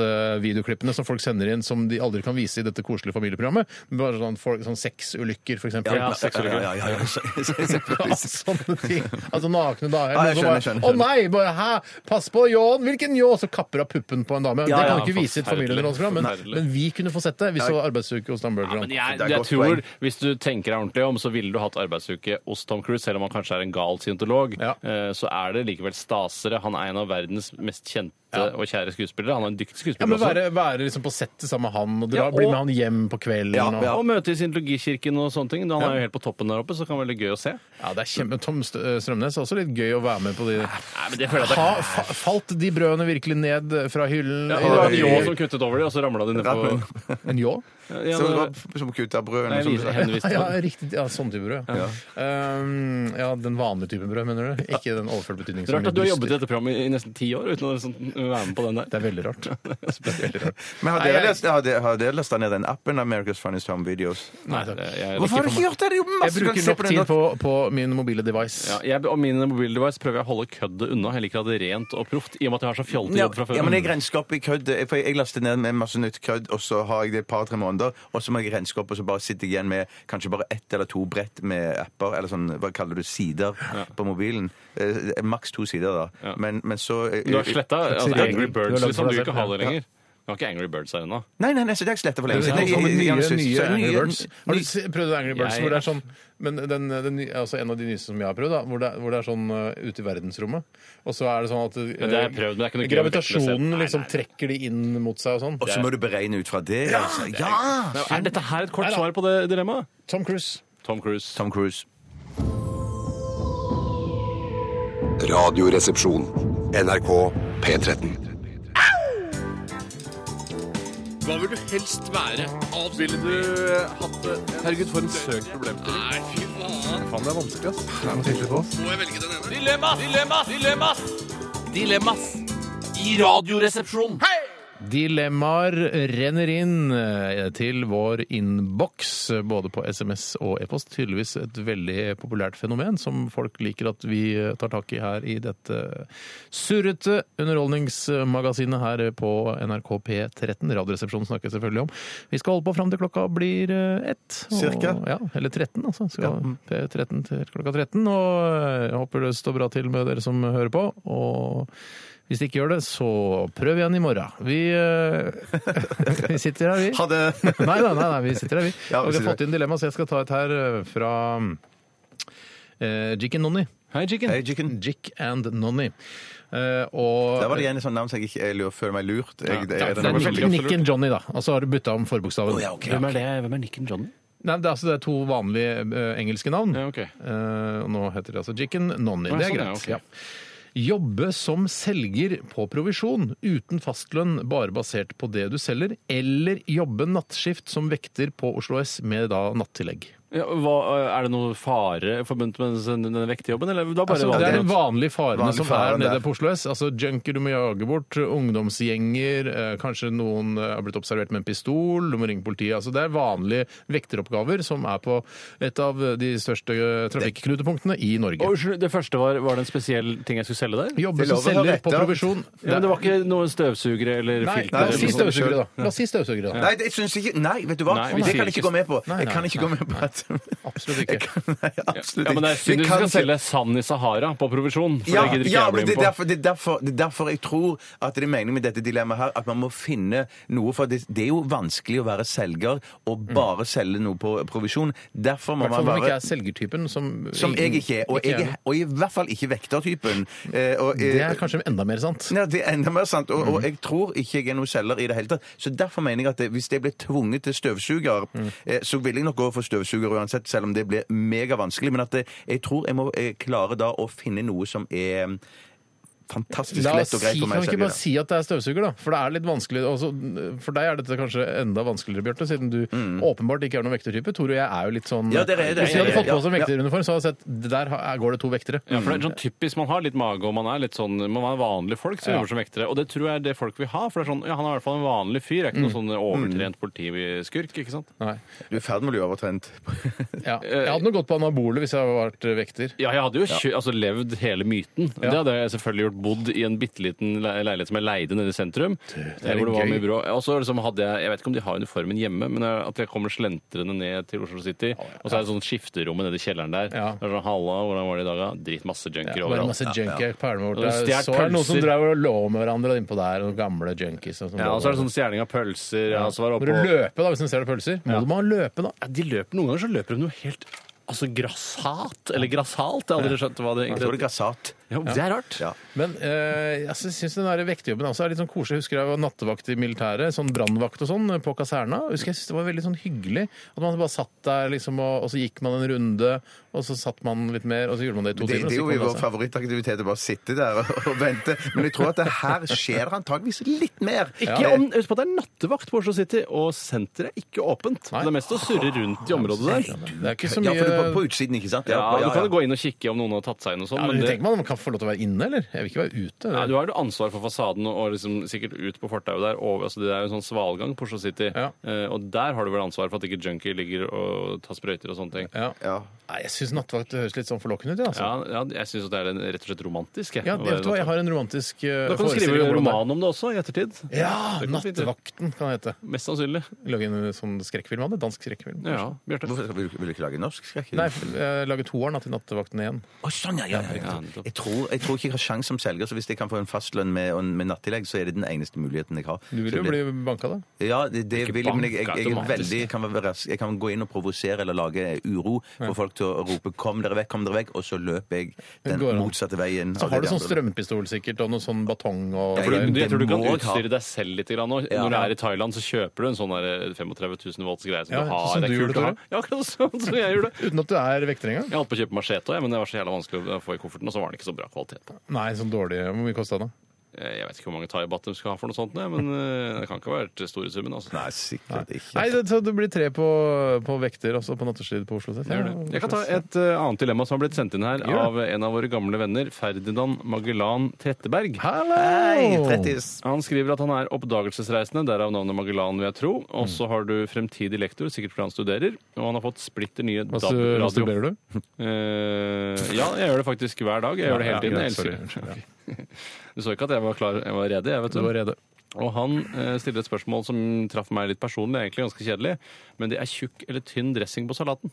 S2: darkness-videoklippene som folk sender inn, som de aldri kan vise i dette koselige familieprogrammet. Bare sånn, folk, sånn sexulykker, for eksempel.
S4: Ja, seks ulykker.
S3: ja, ja, ja,
S2: Ja, sånn.
S3: ja.
S2: sånne ting. Altså nakne damer.
S3: Ja, jeg
S2: Noen som
S3: skjønner,
S2: bare,
S3: skjønner,
S2: Å nei! bare, Hæ? Pass på ljåen! Hvilken ljå? Så kapper av puppen på en dame.
S4: Ja,
S2: det kan
S4: ja,
S2: du ikke vise i et
S4: forferdelig,
S2: familierådsprogram, men,
S4: forferdelig.
S2: men vi kunne få sett det. Vi så arbeidsuke hos Dan Bergeron.
S4: Men jeg,
S3: Det er
S4: jeg
S3: godt
S4: tror,
S3: poeng.
S4: Hvis du tenker deg ordentlig om, så ville du hatt arbeidsuke hos Tom Cruise, selv om han kanskje er en gal scientolog.
S2: Ja.
S4: eh, Så er det likevel stasere. Han er en av verdens mest kjente og kjære skuespillere. Han er en dyktig
S2: Ja,
S4: skuespiller
S2: men
S4: også.
S2: være, være liksom på settet sammen med han og, dra,
S4: Ja, og-
S2: bli med han hjem på kvelden.
S3: Ja,
S2: og,
S3: ja.
S4: Og møte i scientologikirken og sånne ting. Han er jo helt på toppen der oppe, så det kan være veldig gøy å se.
S2: ja det er kjempe Tom St- eh, Strømnes er også litt gøy å være med på de
S4: Nei, men det føler jeg
S2: ha, fa, Falt de brødene virkelig ned fra hyllen?
S4: ja,
S2: i
S4: det var
S2: dag?
S4: en ljå som kuttet over dem, og så ramla de nedpå
S3: Rappen.
S2: En ljå?
S4: ja,
S3: Som,
S4: men-
S3: som kutta brød.
S4: Nei,
S3: som du sa.
S4: Lise henviste
S2: Ja,
S4: på det.
S2: riktig. Ja, sånn type brød. Ja. Um, ja, den vanlige typen brød, mener du? Ikke den overført betydning. som
S4: Rart at du
S2: blir
S4: har jobbet i
S2: dyster.
S4: dette programmet i nesten ti år uten å liksom være med på den der.
S2: Det er veldig rart. Det er veldig rart.
S3: Men har
S2: Nei,
S3: dere
S2: jeg-
S3: lest- har dere- har dere lasta ned den appen America's Funniest Home Videos?
S4: Nei, det- jeg- jeg-
S3: Hvorfor har du
S4: for
S3: ikke
S4: meg.
S3: gjort det? Det er jo
S2: Jeg
S3: masse du kan
S2: bruker
S3: se
S2: nok
S3: på den
S2: tid
S3: nå.
S2: på, på min mobile device.
S4: ja, jeg, og mine mobildevice prøver jeg å holde køddet unna. Jeg liker at det er rent og proft, i og med at jeg har så fjollete
S3: Ja,
S4: jobb fra før.
S3: ja, men jeg rensker opp i kødd. Jeg- For jeg laster ned med masse nytt kødd, og så har jeg det et par-tre måneder, og så må jeg renske opp, og så bare sitter jeg igjen med kanskje bare ett eller to brett med apper, eller sånn, hva kaller du, sider på mobilen. Eh, maks to sider, da. Men, men så eh,
S4: Du har sletta altså,
S2: Sier
S4: Angry
S2: Angry
S4: Birds,
S2: Birds,
S4: liksom. Du vil ikke ha
S2: ja.
S4: det lenger. Du har ikke Angry Birds her ennå.
S3: Nei, nei, nei, så det har jeg sletta for
S2: Det
S3: lenge siden.
S2: har kommet
S3: Jeg- jeg-
S2: nye,
S3: jeg- jeg-
S2: nye
S3: så-
S2: Angry Birds. Har du
S3: nye-
S2: s- prøvd Angry Birds
S4: Jeg-
S2: hvor det er sånn men den, den, nye- altså En av de nyeste som jeg har prøvd, da, hvor, det, er- hvor det er sånn uh, ute i verdensrommet. Og så er det sånn at
S4: Men det har jeg prøvd, men det er ikke noe gøy å utvikle selv.
S2: gravitasjonen
S4: Nei,
S2: liksom
S4: nei, nei.
S2: trekker de inn mot seg og sånn.
S3: Og så må du beregne ut fra det. Ja! Altså. ja.
S4: Er dette her et kort
S2: Nei da.
S4: svar på det dilemmaet?
S2: Tom Cruise.
S4: Tom Cruise.
S3: Tom Cruise.
S6: Radioresepsjon. NRK P13.
S10: Hva vil du helst være? Ville du eh, hatt det? Herregud, for en søk problemstilling. Nei, fy faen. Faen, det er vanskelig, ass. Det er noe tydelig på oss. Må jeg velge den ene? Dilemmas! Dilemmas! Dilemmas! Dilemmas! I radioresepsjonen.
S2: Dilemmaer renner inn eh, til vår innboks, eh, både på SMS og e-post. Tydeligvis et veldig populært fenomen som folk liker at vi eh, tar tak i her i dette surrete underholdningsmagasinet her på NRK P13. Radioresepsjonen snakker jeg selvfølgelig om. Vi skal holde på fram til klokka blir eh, ett. og-
S3: Cirka.
S2: Ja, eller 13, altså. Skal P13 til klokka 13. Og eh, jeg håper det står bra til med dere som hører på. Og hvis de ikke gjør det, så prøv igjen i morgen. Vi, eh, vi sitter her, vi.
S3: Ha det!
S2: Nei, nei, nei, nei, vi sitter her, vi.
S3: Ja, vi
S2: og vi har
S3: sitter her.
S2: fått inn dilemma, så jeg skal ta et her eh, fra eh, Jick and Nonny.
S4: Hei, Chicken.
S3: Hey, chicken.
S2: Jick and Nonny. Eh, og
S3: Der var det igjen et sånt navn som jeg ikke jeg lurer, føler meg lurt. Jeg, det, er
S2: det
S3: det
S2: er
S3: noe-
S2: Nick- Nick and Johnny, da. Og så har du bytta om forbokstaven.
S4: Hvem er det? Hvem er Nicken Johnny?
S2: Nei, det, er, altså, det er to vanlige eh, engelske navn.
S4: Ja, ok.
S2: Eh, og nå heter det altså Chicken Nonny.
S4: Ja,
S2: Det er
S4: sånn,
S2: greit.
S4: ja, ok.
S2: Ja. Jobbe som selger på provisjon, uten fastlønn, bare basert på det du selger, eller jobbe nattskift som vekter på Oslo S med da nattillegg.
S4: Ja, hva, eh, er det noe fare forbundet med den, den vektejobben, eller da bare
S2: Altså, det er de
S4: vanlig?
S2: vanlige farene
S3: Vanlige
S2: som
S3: farene
S2: er nede
S3: der.
S2: på Oslo S. Altså junker du må jage bort, ungdomsgjenger, eh, kanskje noen eh, har blitt observert med en pistol, du må ringe politiet. Altså det er vanlige vekteroppgaver som er på et av de største eh, trafikknutepunktene i Norge.
S4: Og unnskyld, det første var, var det en spesiell ting jeg skulle selge der?
S2: Jobbe
S3: Det er
S2: som
S3: lov å ha
S2: selger på
S3: vetter.
S2: provisjon.
S4: Ja, men det var ikke noen støvsugere eller
S2: Nei,
S4: filter?
S2: la
S4: eller
S2: oss si
S4: noe sånt.
S2: støvsugere, da. La oss si støvsugere, da.
S3: Nei, det syns jeg ikke Nei, vet du hva?
S4: Nei, vi
S3: det
S4: sier
S3: kan jeg ikke
S4: ikke-
S3: gå med på.
S2: Nei,
S3: jeg
S2: nei,
S3: kan ikke
S2: nei,
S3: gå med på at
S2: Absolutt
S3: Jeg
S2: ikke.
S3: kan- Nei, absolutt
S4: Ja, men det er synd
S3: Vi
S4: du
S3: kan
S4: skal
S3: ikke-
S4: selge sand i Sahara på provisjon. For
S3: Ja,
S4: det gidder ikke
S3: ja,
S4: jeg bli
S3: men det
S4: med
S3: er,
S4: på.
S3: derfor, det, er derfor, det er derfor jeg tror at det er meningen med dette dilemmaet her, at man må finne noe. For det, det er jo vanskelig å være selger og
S4: Mm.
S3: bare selge noe på provisjon. Derfor
S2: I
S3: må
S2: hvert fall
S3: man
S2: om man ikke
S3: være
S2: er selgertypen. Som,
S3: som jeg ikke er, og, jeg, er- og i hvert fall ikke vektertypen. Eh, og, eh,
S2: Det er kanskje enda mer sant. Mm.
S3: ja, det er enda mer sant, og, og jeg tror ikke jeg er noen selger i det hele tatt. Så derfor mener jeg at det, hvis jeg ble tvunget til støvsuger,
S2: Mm.
S3: eh, så vil jeg nok gå for støvsuger uansett, selv om det blir megavanskelig. Men at det, jeg tror jeg må eh, klare da å finne noe som er mm, fantastisk
S2: La oss
S3: lett og greit
S2: si,
S3: for
S2: kan
S3: meg
S2: vi ikke bare si at det er støvsuger, da? For det er litt vanskelig altså, For deg er dette kanskje enda vanskeligere, Bjarte, siden du åpenbart ikke er noen vektertype. Tore og jeg er jo litt sånn
S3: Mm. Ja, dere er det.
S2: Hvis vi
S3: Ja,
S2: hadde
S3: ja,
S2: fått på oss en
S3: ja.
S2: vekteruniform, så hadde jeg sett der har- går det to vektere.
S4: Ja, for det er
S3: Mm.
S4: sånn typisk, Man har litt mage, og man er litt sånn, man er vanlige folk som jobber som vektere. Og det tror jeg er det folk vil ha. for det er sånn, ja, Han er i hvert fall en vanlig fyr. er ikke
S3: Mm.
S4: noen sånn overtrent politiskurk. ikke sant?
S2: Nei.
S3: Du er i ferd med å bli overtrent.
S2: Ja. Jeg hadde nok gått på anabole hvis jeg hadde vært eh, vekter.
S4: Ja, jeg hadde jo kjø altså, levd hele myten. Det hadde jeg selvfølgelig gjort. Bodd i en bitte liten le leilighet som jeg leide nede i sentrum. Der hvor det var
S2: gøy.
S4: mye brå. Og så liksom hadde jeg Jeg vet ikke om de har uniformen hjemme, men jeg, at jeg kommer slentrende ned til Oslo City, og så er det sånn skifterommet nede i kjelleren der.
S2: Ja.
S4: Det er sånn, Halla, hvordan var det i dag, da? Drit masse
S2: Ja,
S4: junker
S2: det var
S4: overalt.
S2: masse junkie på elva
S4: Og
S2: vårt.
S4: de
S2: Jeg
S4: stjert
S2: Så er det noen som
S4: pølser.
S2: drev og lå med hverandre innpå der, noen gamle junkies. og sånn.
S4: Ja, og så er det sånn stjeling av pølser. Ja, og så var det
S2: Må
S4: oppå
S2: du løpe, da, hvis du ser det pølser? Må du bare løpe, da?
S4: ja, de løper Noen ganger så løper de noe helt Altså grassat, eller grassalt. Jeg har aldri skjønt hva det
S3: Jeg tror det
S4: egentlig
S3: er grassat.
S4: ja, Det er rart.
S3: Ja.
S2: Men eh, jeg syns den der vektejobben også er litt sånn koselig. Jeg husker jeg var nattevakt i militæret, sånn brannvakt og sånn, på kaserna. Jeg husker jeg synes det var veldig sånn hyggelig at man bare satt der, liksom, og, og så gikk man en runde, og så satt man litt mer, og så gjorde man det i to
S3: Det,
S2: timer. og
S3: det er
S2: så
S3: jo
S2: gikk man
S3: vår
S2: og la seg.
S3: favorittaktivitet å bare sitte der og, og vente. Men jeg tror at det her skjer det antageligvis litt mer.
S4: Ikke om, husk på at det er nattevakt på Oslo City, og senteret er ikke åpent.
S2: Nei.
S4: Det er mest å surre rundt i området der.
S2: Det er ikke så
S3: Ja,
S2: mye
S3: for det er på, på utsiden, ikke sant?
S4: Ja,
S3: på-
S4: Du kan jo gå inn og kikke om noen har tatt seg inn og sånn,
S2: ja,
S4: men
S2: men
S4: det,
S2: Tenk meg om man kan få lov til å være inne, eller? Jeg vil ikke være ute.
S4: Nei, du har jo ansvar for fasaden og liksom sikkert ut på fortauet der. Over, altså det er jo en sånn svalgang på Oslo City,
S2: Ja.
S4: eh, og der har du vel ansvar for at ikke junkie ligger og tar sprøyter og sånne ting.
S2: ja.
S3: Ja.
S2: Nei, jeg syns nattevakt høres litt sånn forlokkende ut, jeg, altså.
S4: Ja, ja, jeg syns det er en, rett og slett romantisk. Jeg,
S2: Ja, det,
S4: å
S2: vet
S4: være
S2: du hva, jeg
S4: nattevakt.
S2: har en romantisk eh,
S4: da kan du
S2: forestilling
S4: skrive
S2: om hvordan det er.
S4: roman om det også, i ettertid.
S2: Ja!
S4: Det kan fint, det.
S2: Nattevakten kan det hete.
S4: Mest sannsynlig.
S2: Lage en sånn skrekkfilm av det. Dansk skrekkfilm.
S4: Ja, Bjarte.
S3: Hvorfor vil, du- vil du ikke lage norsk skrekk?
S2: Nei, eh, lage toeren da, til Nattevakten igjen.
S3: Å, sånn, ja, ja, ja,
S4: Ja,
S3: ja.
S4: nettopp.
S3: Jeg, tror, jeg tror ikke jeg har sjans som selger, så hvis jeg kan få en fastlønn med, Eh, og en- med nattillegg, så er det den eneste muligheten jeg har.
S2: Du vil
S3: Så
S2: jo
S3: det blir-
S2: bli banka, da.
S3: Ja, det, det
S4: Ikke
S3: vil jeg, men jeg, jeg,
S4: bank
S3: jeg, er
S4: automatisk.
S3: veldig, kan være rask. jeg kan gå inn og provosere eller lage uro, få folk til å rope 'kom dere vekk', 'kom dere vekk', og så løper jeg den
S2: Går an.
S3: motsatte veien.
S2: Så
S3: av
S2: har du
S3: det de
S2: sånn
S3: andre-
S2: strømpistol sikkert, og noe sånn batong og
S3: Ja,
S4: For du,
S3: det
S4: jeg tror du kan
S3: må jeg ha.
S4: utstyre
S2: altså.
S4: deg selv litt. Grann, og
S3: Ja.
S4: Når du er i Thailand, så kjøper du en sånn der 35 000 volts greie som
S2: Ja,
S4: du har.
S2: sånn
S4: det
S2: du
S4: er
S2: gjorde
S4: kult å ha.
S2: det,
S4: Ja, akkurat sånn som jeg gjorde det.
S2: Uten at du er vekter engang?
S4: Jeg holdt på å kjøpe machete, jeg, men det var så jævla vanskelig å få i kofferten, og så var den ikke så bra kvalitet på.
S2: Nei, sånn dårlig. Hvor mye kosta det?
S4: Eh, Jeg vet ikke hvor mange thaibatt de skal ha for noe sånt, nei, men eh, det kan ikke ha vært store summen. Altså.
S3: Nei, sikkert ikke.
S2: Nei, det, så det blir tre på, på vekter, altså på nattestid på Oslo Sett.
S4: Jeg gjør det. Jeg kan ta et eh, annet dilemma som har blitt sendt inn her
S2: Gjør det.
S4: av en av våre gamle venner, Ferdinand Magellan Tretteberg.
S3: Hei,
S2: Hallo!
S3: 30s.
S4: Han skriver at han er oppdagelsesreisende, derav navnet Magellan, vil jeg tro. Og så har du fremtidig lektor, sikkert fordi han studerer. Og han har fått splitter nye
S2: Hva stu- hva studerer du?
S4: Eh, ja, jeg gjør det faktisk hver dag. Jeg gjør det hele tiden.
S2: Ja,
S4: Jeg
S2: sorry.
S4: elsker.
S2: Unnskyld.
S4: Du så ikke at jeg var klar, jeg var rede. Jeg vet
S2: Du var rede.
S4: Og han eh, stiller et spørsmål som traff meg litt personlig, egentlig ganske kjedelig. Men det er tjukk eller tynn dressing på salaten.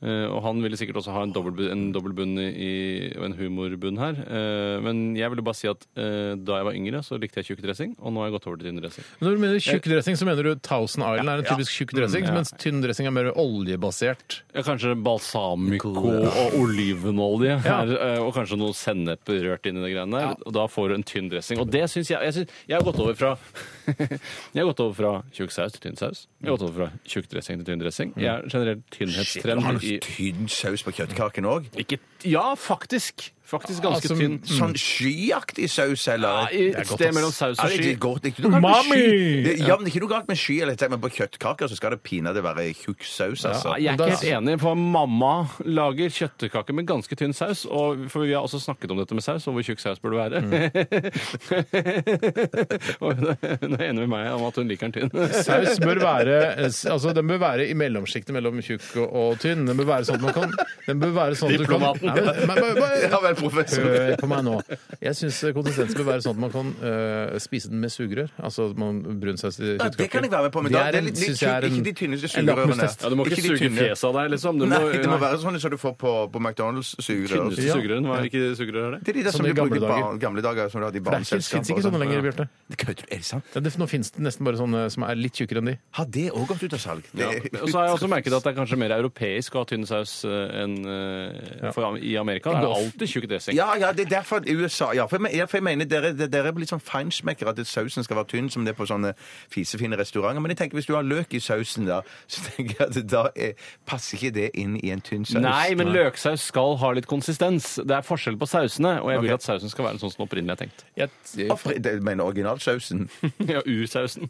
S4: Eh, og han ville sikkert også ha en dobbeltbunn, en dobbeltbunn i, i- og en humorbunn her. Eh, men jeg ville bare si at eh, da jeg var yngre, så likte jeg tjukk dressing, og nå har jeg gått over til tynn dressing.
S2: Når du mener tjukk dressing, så mener du Thousand Island er en typisk tjukk dressing,
S4: Mm, ja.
S2: mens tynn dressing er mer oljebasert.
S4: Ja, kanskje balsamico og olivenolje her, eh, og kanskje noe sennep rørt inn i det greiene der. Og da får du en tynn dressing. Og det syns jeg Jeg, synes, jeg har gått over fra Jeg har gått over fra tjukk saus til tynn saus. Jeg har gått over fra tjukk dressing til tynn dressing. Jeg er generelt
S3: Shit, har
S4: tynnhetstrend
S3: du
S4: i
S3: tynn saus på kjøttkaken òg?
S4: Ikke Ja, faktisk. Faktisk ganske
S3: Altså,
S2: Mm.
S4: tynn.
S3: Sånn skyaktig saus, eller?
S4: Ja, i- et sted mellom saus
S3: Ja,
S4: og
S3: det er
S4: sky.
S3: ikke godt, det er ikke noe galt med
S4: Umami!
S3: sky. Det, ja, men det er ikke noe galt med sky, eller, dette, men på kjøttkaker så skal det pinadø være tjukk saus, altså.
S4: Ja, jeg er ikke helt enig, for mamma lager kjøttkaker med ganske tynn saus. Og for vi har også snakket om dette med saus, og hvor tjukk saus burde være. Mm. og hun er, hun er enig med meg om at hun liker den tynn.
S2: Saus bør være altså den bør være i mellomsjiktet mellom tjukk og, og tynn. Den bør være sånn at man kan den bør være sånn at du kan,
S4: Diplomaten.
S2: Nei, men- men- men- men-
S3: Ja vel, professor.
S2: Hør på meg nå. Jeg syns konsistens bør være sånn at man kan øh, spise den med sugerør. Altså at man brun saus i
S3: Ja, det kan jeg være med på, men
S2: Det
S3: da
S2: er
S3: det er
S2: en-
S3: litt, litt
S2: synes jeg er
S3: tjukk,
S2: en-
S3: ikke de tynneste
S2: en
S3: sugerørene.
S2: lakmustest.
S4: Ja, du må ikke,
S3: de
S4: suge
S3: tynne.
S4: fjeset av deg, liksom. Du
S3: Nei,
S4: må,
S3: det må være sånne som du får på, på McDonald's-sugerør.
S4: Tynneste sugerøren, hva er ikke sugerør er det?
S3: Det er de der som,
S2: Som i
S3: du bruker
S2: gamle
S3: i
S2: dager.
S3: barn- gamle dager. Som du hadde i
S2: For det er ikke-
S3: barneselskap
S2: finnes ikke
S3: og
S2: sånne
S3: sånn.
S2: lenger, Bjarte.
S3: Det kan jo- Er det sant?
S2: Ja, det- nå finnes det nesten bare sånne som er litt tjukkere enn de.
S3: Har det òg gått ut av salg? Det,
S4: Og så har jeg også merket at det er kanskje mer europeisk å ha tynn saus eh, enn eh, for i Amerika. Det er alltid tjukk dressing.
S3: Ja, ja, det er derfor at USA ja, for, jeg, men- ja, for jeg mener dere, de- dere blir sånn feinschmeckere at sausen skal være tynn som det er på sånne fisefine restauranter. Men jeg tenker hvis du har løk i sausen da, så tenker jeg at da eh, passer ikke det inn i en tynn saus.
S4: Nei, men løksaus skal ha litt konsistens. Det er forskjell på sausene, og jeg vil at sausen skal være sånn som opprinnelig er tenkt.
S2: Jeg,
S3: Å, for- det- mener originalsausen.
S4: Ja, ursausen.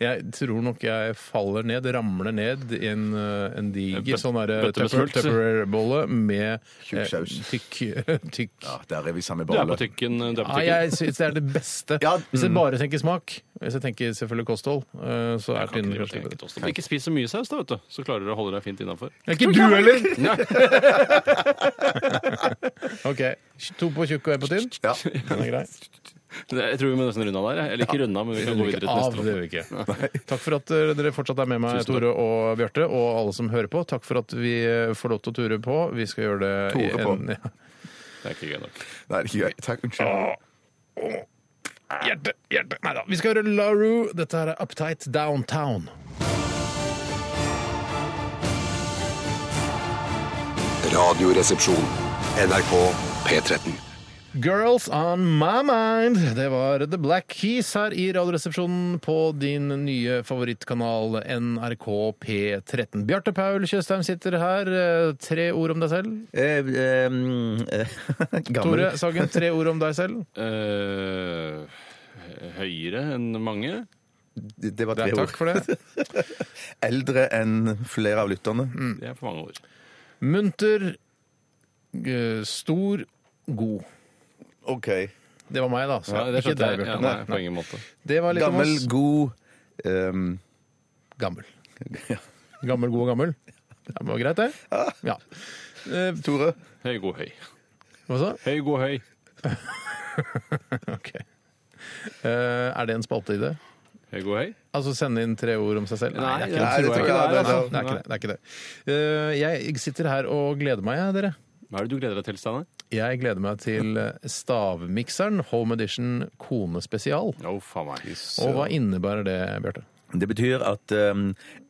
S2: jeg tror nok jeg faller ned, ramler ned i en, øh, en diger
S4: Bøtte-
S2: sånn derre
S4: bøtte med smult.
S2: Tupperware-bolle med
S3: Tjukk saus.
S2: eh, Tykk. tykk.
S3: Ja, der er vi samme
S4: Du er på
S3: bolle.
S4: tykken. Du er på
S2: Nei,
S4: tykken.
S2: jeg syns det er det beste.
S3: Ja, mm.
S2: Hvis jeg bare tenker smak, hvis jeg tenker selvfølgelig kosthold, eh, så er
S4: Kan
S2: tynn
S4: ikke
S2: kanskje
S4: drive og tenke
S2: bedre.
S4: toast. Om du Ikke spis så mye saus, da, vet du. Så klarer du å holde deg fint innafor.
S2: Er ikke du heller? OK. To på tjukk og en på tynn.
S3: Ja.
S2: Den er grei.
S4: Jeg tror vi må nesten runde av der. jeg. Eller ikke runde av, men vi
S2: Vi
S4: kan gå videre til
S2: av,
S4: neste
S2: det
S4: år.
S2: gjør vi ikke. Takk for at eh, dere fortsatt er med meg,
S4: Tusen takk.
S2: Tore og Bjarte, og alle som hører på. Takk for at vi eh, får lov til å ture på. Vi skal gjøre det i
S3: Tore på.
S2: en- ja.
S4: Det er ikke gøy nok.
S3: Nei, det er ikke gøy. Takk, unnskyld.
S2: Hjerte, hjerte. Neida. Vi skal høre La Rue. Dette her er Uptight Downtown.
S6: Radioresepsjon. NRK P13.
S2: Girls on my mind. Det var The Black Keys her i Radioresepsjonen på din nye favorittkanal NRK P13. Bjarte Paul Tjøstheim sitter her. Eh, Tre ord om deg selv.
S3: Eh, eh, mm, eh, gammel.
S2: Tore Sagen, tre ord om deg selv.
S4: Eh, høyere enn mange.
S3: Det det var
S2: Det
S3: tre
S2: er
S3: ord.
S2: takk for det.
S3: Eldre enn flere av lytterne.
S2: Mm.
S4: Det er for mange ord.
S2: Munter, eh, stor, god.
S3: OK.
S2: Det var meg, da. Så
S4: Ja, det
S2: ikke
S4: skjønte
S2: deg,
S4: jeg. Ja,
S2: Bjarte.
S4: nei, på
S2: Nei, nei.
S4: ingen måte.
S2: Det var litt
S3: Gammel,
S2: om oss.
S3: god ehm,
S2: Gammel. Gammel, god og gammel. Ja, men det var greit, det. Ja. Eh,
S3: Tore?
S4: Høy, god, høy.
S2: Hva så?
S4: Høy, god, høy.
S2: Ok. Eh, er det en spalte i det?
S4: Høy, god, høy.
S2: Altså sende inn tre ord om seg selv?
S4: Nei,
S2: det er ikke
S4: nei,
S2: det.
S4: det tror
S2: Nei,
S4: jeg ikke det er,
S2: nei,
S4: altså.
S2: det er ikke det. det, er ikke det. Eh, jeg sitter her og gleder meg, jeg, dere.
S4: Hva er det du gleder deg til, Steinar?
S2: Jeg gleder meg til stavmikseren Home Edition Kone Spesial.
S4: Å, faen meg.
S2: Og hva innebærer det, Bjarte?
S3: Det betyr at ehm,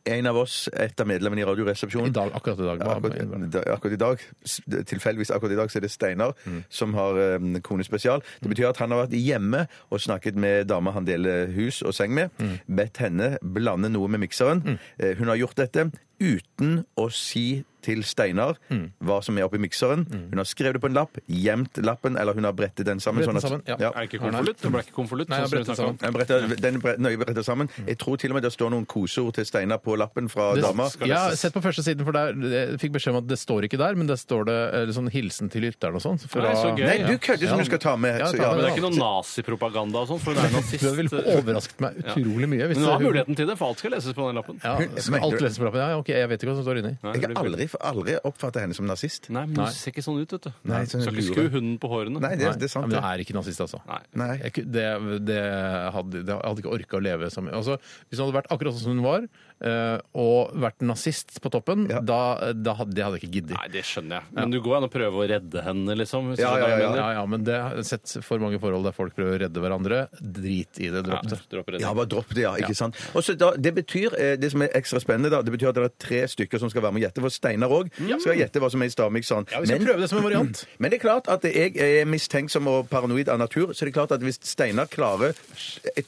S3: en av oss, et av medlemmene i
S2: I
S3: Radioresepsjonen
S2: dag, akkurat i dag.
S3: Ja,
S2: Hva innebærer det?
S3: Akkurat, da- akkurat i dag, s- tilfeldigvis akkurat i dag, så er det Steinar
S2: Mm.
S3: som har um, kone spesial. Det betyr at han har vært hjemme og snakket med dama han deler hus og seng med.
S2: Mm.
S3: Bedt henne blande noe med mikseren. Eh, Hun har gjort dette uten å si til Steinar
S2: Mm.
S3: hva som er oppi mikseren. Hun har skrevet det på en lapp, gjemt lappen, eller hun har brettet den sammen.
S2: Brettet
S3: sånn at-
S2: sammen, ja.
S4: Er det ikke konvolutt? Det ble ikke konvolutt.
S2: Nei, jeg
S4: sånn
S2: bretter sammen.
S4: som vi snakket om.
S3: Den bretter, den bre- nøye bretter sammen. Jeg tror til og med det står noen koseord til Steinar på lappen
S2: Mm.
S3: fra
S2: Det-
S3: dama.
S2: Jeg har sett på første siden, for der jeg fikk beskjed om at det står ikke der, men der står det eller sånn hilsen til lytteren og sånn. fra-
S4: Nei, så gøy.
S3: Nei, du kødder som du skal ta med.
S2: Ja,
S3: Så,
S2: ta
S3: ja.
S2: med
S4: Men det er ikke noe nazipropaganda og sånn, for det er nazist.
S2: Det ville overrasket meg utrolig mye. Hvis
S4: Men du har
S2: det-
S4: muligheten til det, for alt skal leses på den lappen.
S2: Ja, skal
S3: Mener
S2: alt
S3: du-
S2: leses på lappen? Ja, ok, jeg vet ikke hva som står inni.
S4: Nei, det
S3: Jeg
S4: blir
S3: har aldri, aldri oppfatta henne som nazist.
S4: Nei, men det ser ikke sånn ut, vet du.
S3: Nei, sånn
S4: Skal ikke
S3: lure.
S4: skru hunden på hårene.
S3: Nei, det,
S2: Ja,
S3: det er sant.
S2: men
S3: det.
S2: jeg er ikke nazist, altså.
S4: Nei.
S3: Nei.
S2: Jeg, ku- det, det, hadde, det hadde ikke orka å leve som altså, Hvis hun hadde vært akkurat sånn som hun var, eh, og vært nazist på toppen,
S3: Ja.
S2: da, da hadde, det hadde jeg ikke giddet.
S4: Nei, det skjønner jeg. Men du går an å prøve å redde henne, liksom. Hvis
S3: Ja,
S4: du skjønner hva jeg
S3: ja,
S4: mener.
S2: Ja, ja, men det jeg har sett for mange forhold der folk prøver å redde hverandre. Drit i det. Dropp det.
S4: Ja, dropp redning.
S3: Ja, bare dropp det, ja. Ikke sant. Og så da, det betyr, eh, det som er ekstra spennende, da, det betyr at det er tre stykker som skal være med og gjette, for Steinar òg skal gjette hva som er i stavmikseren.
S2: Ja, vi skal prøve det som en variant.
S3: Men det er klart at jeg er mistenksom og paranoid av natur, så det er klart at hvis Steinar klarer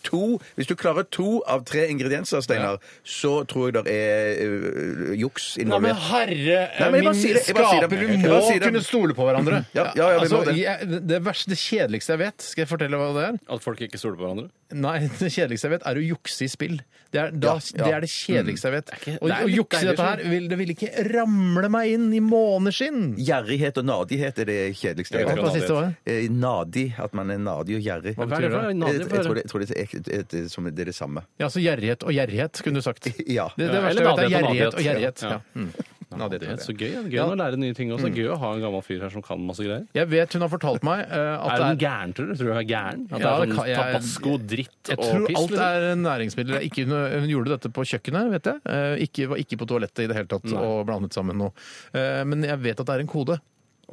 S3: to Hvis du klarer to av tre ingredienser, Steinar, så tror tror jeg det er eh, juks
S2: Nei, men
S3: involvert.
S2: herre
S3: Nei, men jeg bare
S2: min
S3: sier det, jeg bare sier det.
S2: skaper,
S3: Jeg
S2: vi må
S3: bare sier det.
S2: kunne stole på hverandre.
S3: Ja, ja, ja, vi må det.
S2: Altså, jeg, det, verste, det kjedeligste jeg vet, skal jeg fortelle hva det er?
S4: At folk ikke stoler på hverandre?
S2: Nei, det kjedeligste jeg vet, er å jukse i spill. Det er, da,
S3: ja.
S2: Det, er det kjedeligste jeg vet.
S4: ikke-
S2: Og
S4: Mm. det er
S2: å
S4: litt
S2: jukse i
S4: deilig,
S2: dette her, vil, det vil ikke ramle meg inn i måneskinn.
S3: Gjerrighet og nadighet er det kjedeligste.
S4: Jeg
S2: Hva
S4: vet
S2: var
S4: ikke hva
S2: det siste ordet?
S3: Eh, Nadig. At man er nadig og gjerrig.
S4: Hva betyr det? for noe?
S3: Jeg,
S4: Nadia,
S3: jeg,
S4: få
S3: tror
S4: høre.
S3: det, jeg tror det, er- jeg, det, er som- det er det samme.
S2: Ja, så gjerrighet og gjerrighet, kunne du sagt. Det,
S3: Ja.
S2: det
S4: Ja,
S2: verste jeg
S4: eller
S2: vet, er
S4: nadighet
S2: gjerrighet og
S4: og
S2: gjerrighet.
S4: nadighet.
S2: Ja. Mm. Nadighet,
S4: Det er
S2: nadighet.
S4: så gøy. ja. Gøy å lære nye ting også. Det er Gøy å ha en gammel fyr her som kan masse greier.
S2: Jeg vet hun har fortalt meg eh, at
S4: er
S2: det
S4: hun
S2: er
S4: gæren, tror du? Tror du hun er gæren?
S2: Ja,
S4: At det
S2: det
S4: er
S2: kan-
S4: sånn
S2: jeg-
S4: tabasco, dritt
S2: jeg
S4: og
S2: tror
S4: piss?
S2: alt
S4: liksom?
S2: er næringsmidler. Det er Ikke, noe- hun gjorde dette på kjøkkenet, vet jeg. Eh, Ikke, var ikke på toalettet i det hele tatt og blandet sammen noe. Eh, Men jeg vet at det er en kode.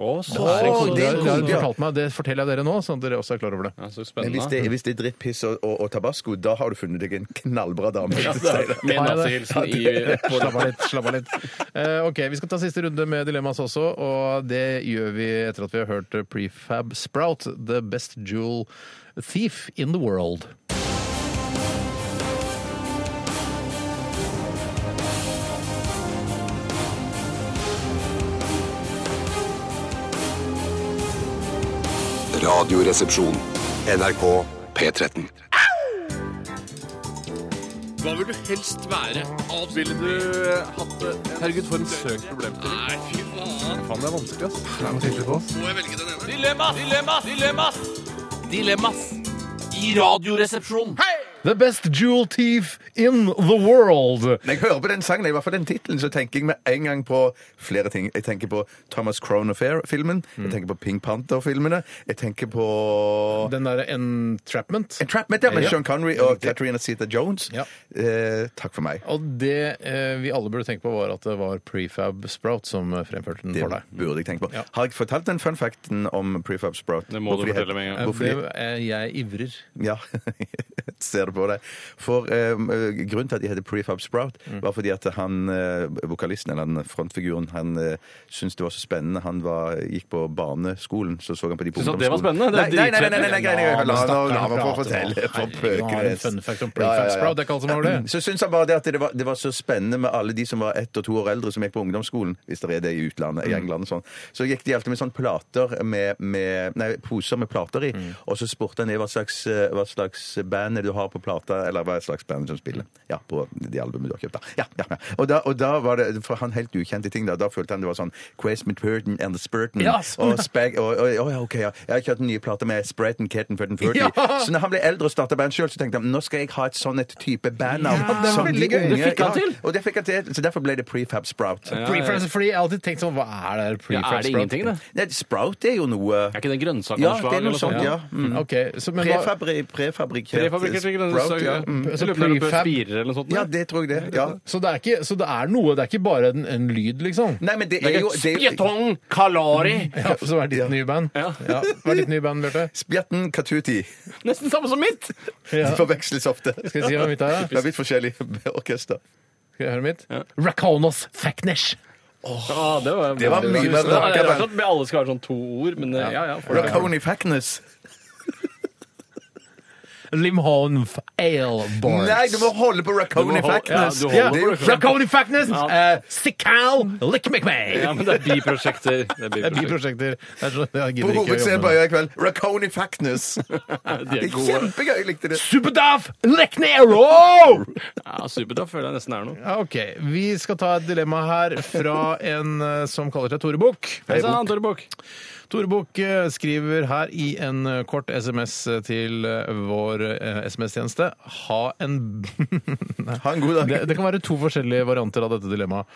S4: Å, så
S3: Det er en
S2: Det,
S3: kode,
S2: har- det har hun
S3: ja.
S2: fortalt meg, det forteller jeg dere nå, sånn at dere også er klar over det.
S4: Ja, så
S3: Men hvis
S4: spennende.
S3: det, hvis det er drittpiss og, og, og tabasco, da har du funnet deg en knallbra dame.
S4: Ja, det er- Med
S2: Har jeg det?
S4: nazihilsen i
S2: Slapp av litt. slapp av litt. Eh, ok, Vi skal ta siste runde med Dilemmas også, og det gjør vi etter at vi har hørt Prefab Sprout, The Best Jewel Thief in the World.
S6: Radioresepsjon. NRK P13.
S10: Hva vil du helst være? Ville du hatt det? Herregud, for en søk problemstilling. Nei, fy faen. Faen, det er vanskelig, ass. Må jeg velge den ene? Dilemmas! Dilemmas! Dilemmas! Dilemmas i radioresepsjonen.
S2: The Best Jewel Thief in the World.
S3: Når jeg hører på den sangen, i hvert fall den tittelen, så tenker jeg med en gang på flere ting. Jeg tenker på Thomas Crown-filmen,
S4: Mm.
S3: jeg tenker på Pink Panther-filmene, jeg tenker på
S2: Den derre Entrapment.
S3: Entrapment, ja, med
S2: Ja.
S3: Sean Connery og Katarina Zeta-Jones.
S2: Ja.
S3: Eh, takk for meg.
S2: Og det eh, vi alle burde tenke på, var at det var Prefab Sprout som fremførte den
S3: Det
S2: for deg.
S3: burde jeg tenke på.
S2: Ja.
S3: Har jeg fortalt den fun facten om prefab sprout?
S4: Det må du fortelle med en gang.
S2: Eh,
S3: Hvorfor de-
S2: det er jeg ivrer.
S3: Ja, ser det på deg. For eh, grunnen til at de heter prefab sprout, var fordi at han, eh, vokalisten, eller han frontfiguren, han eh, syntes det var så spennende. Han var, gikk på barneskolen, så så han på de på
S4: Synes han det var
S3: ungdomsskolen.
S4: spennende? Det er
S3: Nei, nei, nei, nei, nei, nei, nei, nei,
S4: dritfett.
S3: nei, la
S2: Ja,
S3: nå-
S2: men
S3: la meg få
S2: stakkars
S3: fortelle.
S2: prate nå.
S3: for
S2: Herregud, nå har du en
S3: pøkenes.
S2: fun fact om prefab sprout. Det er ikke alle som har det.
S3: Mm. Så syns han bare det at det var, det var så spennende med alle de som var ett og to år eldre som gikk på ungdomsskolen, hvis det er det i utlandet,
S2: Mm.
S3: i England og sånn. Så gikk de alltid med sånne plater med, med Nei, poser med plater i,
S2: Mm.
S3: og så spurte han det hva slags, eh, hva slags band er det du har på plata, eller hva slags band som spiller. Ja, på de albumene du har kjøpt, da. Ja, ja, ja. Og da, og da var det for han helt ukjente ting, da. Da følte han det var sånn Quest McPurton and the Spurton
S2: Ja, sånn,
S3: og Spag og, og, og, ja, OK, ja. Jeg har kjørt en ny plate med Sprayton, Caton, Furton, Furty.
S2: Ja.
S3: Så når han ble eldre og starta band sjøl, så tenkte han nå skal jeg ha et sånn et type band av
S2: Ja, det var
S3: som de
S2: veldig gøy.
S3: unge-
S4: Det fikk han
S3: Ja,
S4: til.
S3: Og det fikk han til, så derfor ble det prefab sprout.
S4: Ja, ja.
S2: Prefab, fordi jeg har alltid tenkt sånn, hva er det her
S4: Ja,
S2: prefab
S4: er det
S2: sprout?
S4: ingenting, det?
S3: Nei, sprout er jo noe
S4: Er ikke det grønnsak
S3: Ja,
S4: av
S3: det
S4: slag?
S3: er noe
S4: eller
S3: sånt,
S4: sånt?
S3: ja. Mm.
S2: Ok, så, men hva,
S3: Prefabri, prefabrikert
S4: Prefabrikerte
S3: sprout,
S4: grønnsaker.
S3: ja. Mm.
S4: Jeg
S2: Så
S4: lurer på om det er
S2: prefab-
S4: spirer eller noe sånt?
S3: ja, det tror jeg det. Ja.
S2: så, det er ikke, så det er noe, det er ikke bare en, en lyd, liksom?
S3: Nei, men det er jo det er jo-
S4: Spjetong kalori!
S2: Ja, som er ditt nye band?
S4: Ja.
S2: Ja, Hva er ditt nye band, Bjarte?
S3: Spjetten Katuti.
S4: Nesten samme som mitt!
S3: De
S2: Ja.
S3: forveksles ofte.
S2: Skal jeg si hva mitt er,
S3: Det
S2: da?
S3: er litt forskjellig med orkester.
S2: Skal jeg høre mitt? Rakonos Feknesh.
S4: Ah, det var,
S3: Det var mye mer
S4: Det er
S3: rakere.
S4: rart at vi alle skal ha sånn to ord, men eh, ja, ja. for det er-
S3: Raconi Fackness.
S2: Limhon Ale Bars.
S3: Nei, du må holde på Raconi
S4: Du må holde-
S3: Fackness!
S4: ja, du
S2: Ja,
S4: holder på Raccoon.
S2: Raconi Feknesh!
S4: Ja.
S2: eh, Sikal Lick McMay!
S4: Ja, men det er biprosjekter. Det er
S2: Det er
S4: biprosjekter.
S2: biprosjekter. Det er sånn- Jeg
S3: På
S2: gidder ikke å
S3: hovedscenen
S2: jobbe med det.
S3: på Øya i kveld. Raconi Fackness.
S4: De
S3: Det
S4: er
S3: er
S4: gode.
S3: kjempegøy! Jeg likte det.
S2: Superdaff Leknero!
S4: Ja, Superdaff føler jeg nesten er noe.
S2: Ja, OK. Vi skal ta et dilemma her fra en eh, som kaller seg Tore Bukk.
S4: Hei sann, Tore Bukk.
S2: Tore Bukk eh, skriver her i en eh, kort SMS til eh, vår eh, SMS-tjeneste Ha en Nei.
S3: Ha en god dag.
S2: Det, det kan være to forskjellige varianter av dette dilemmaet.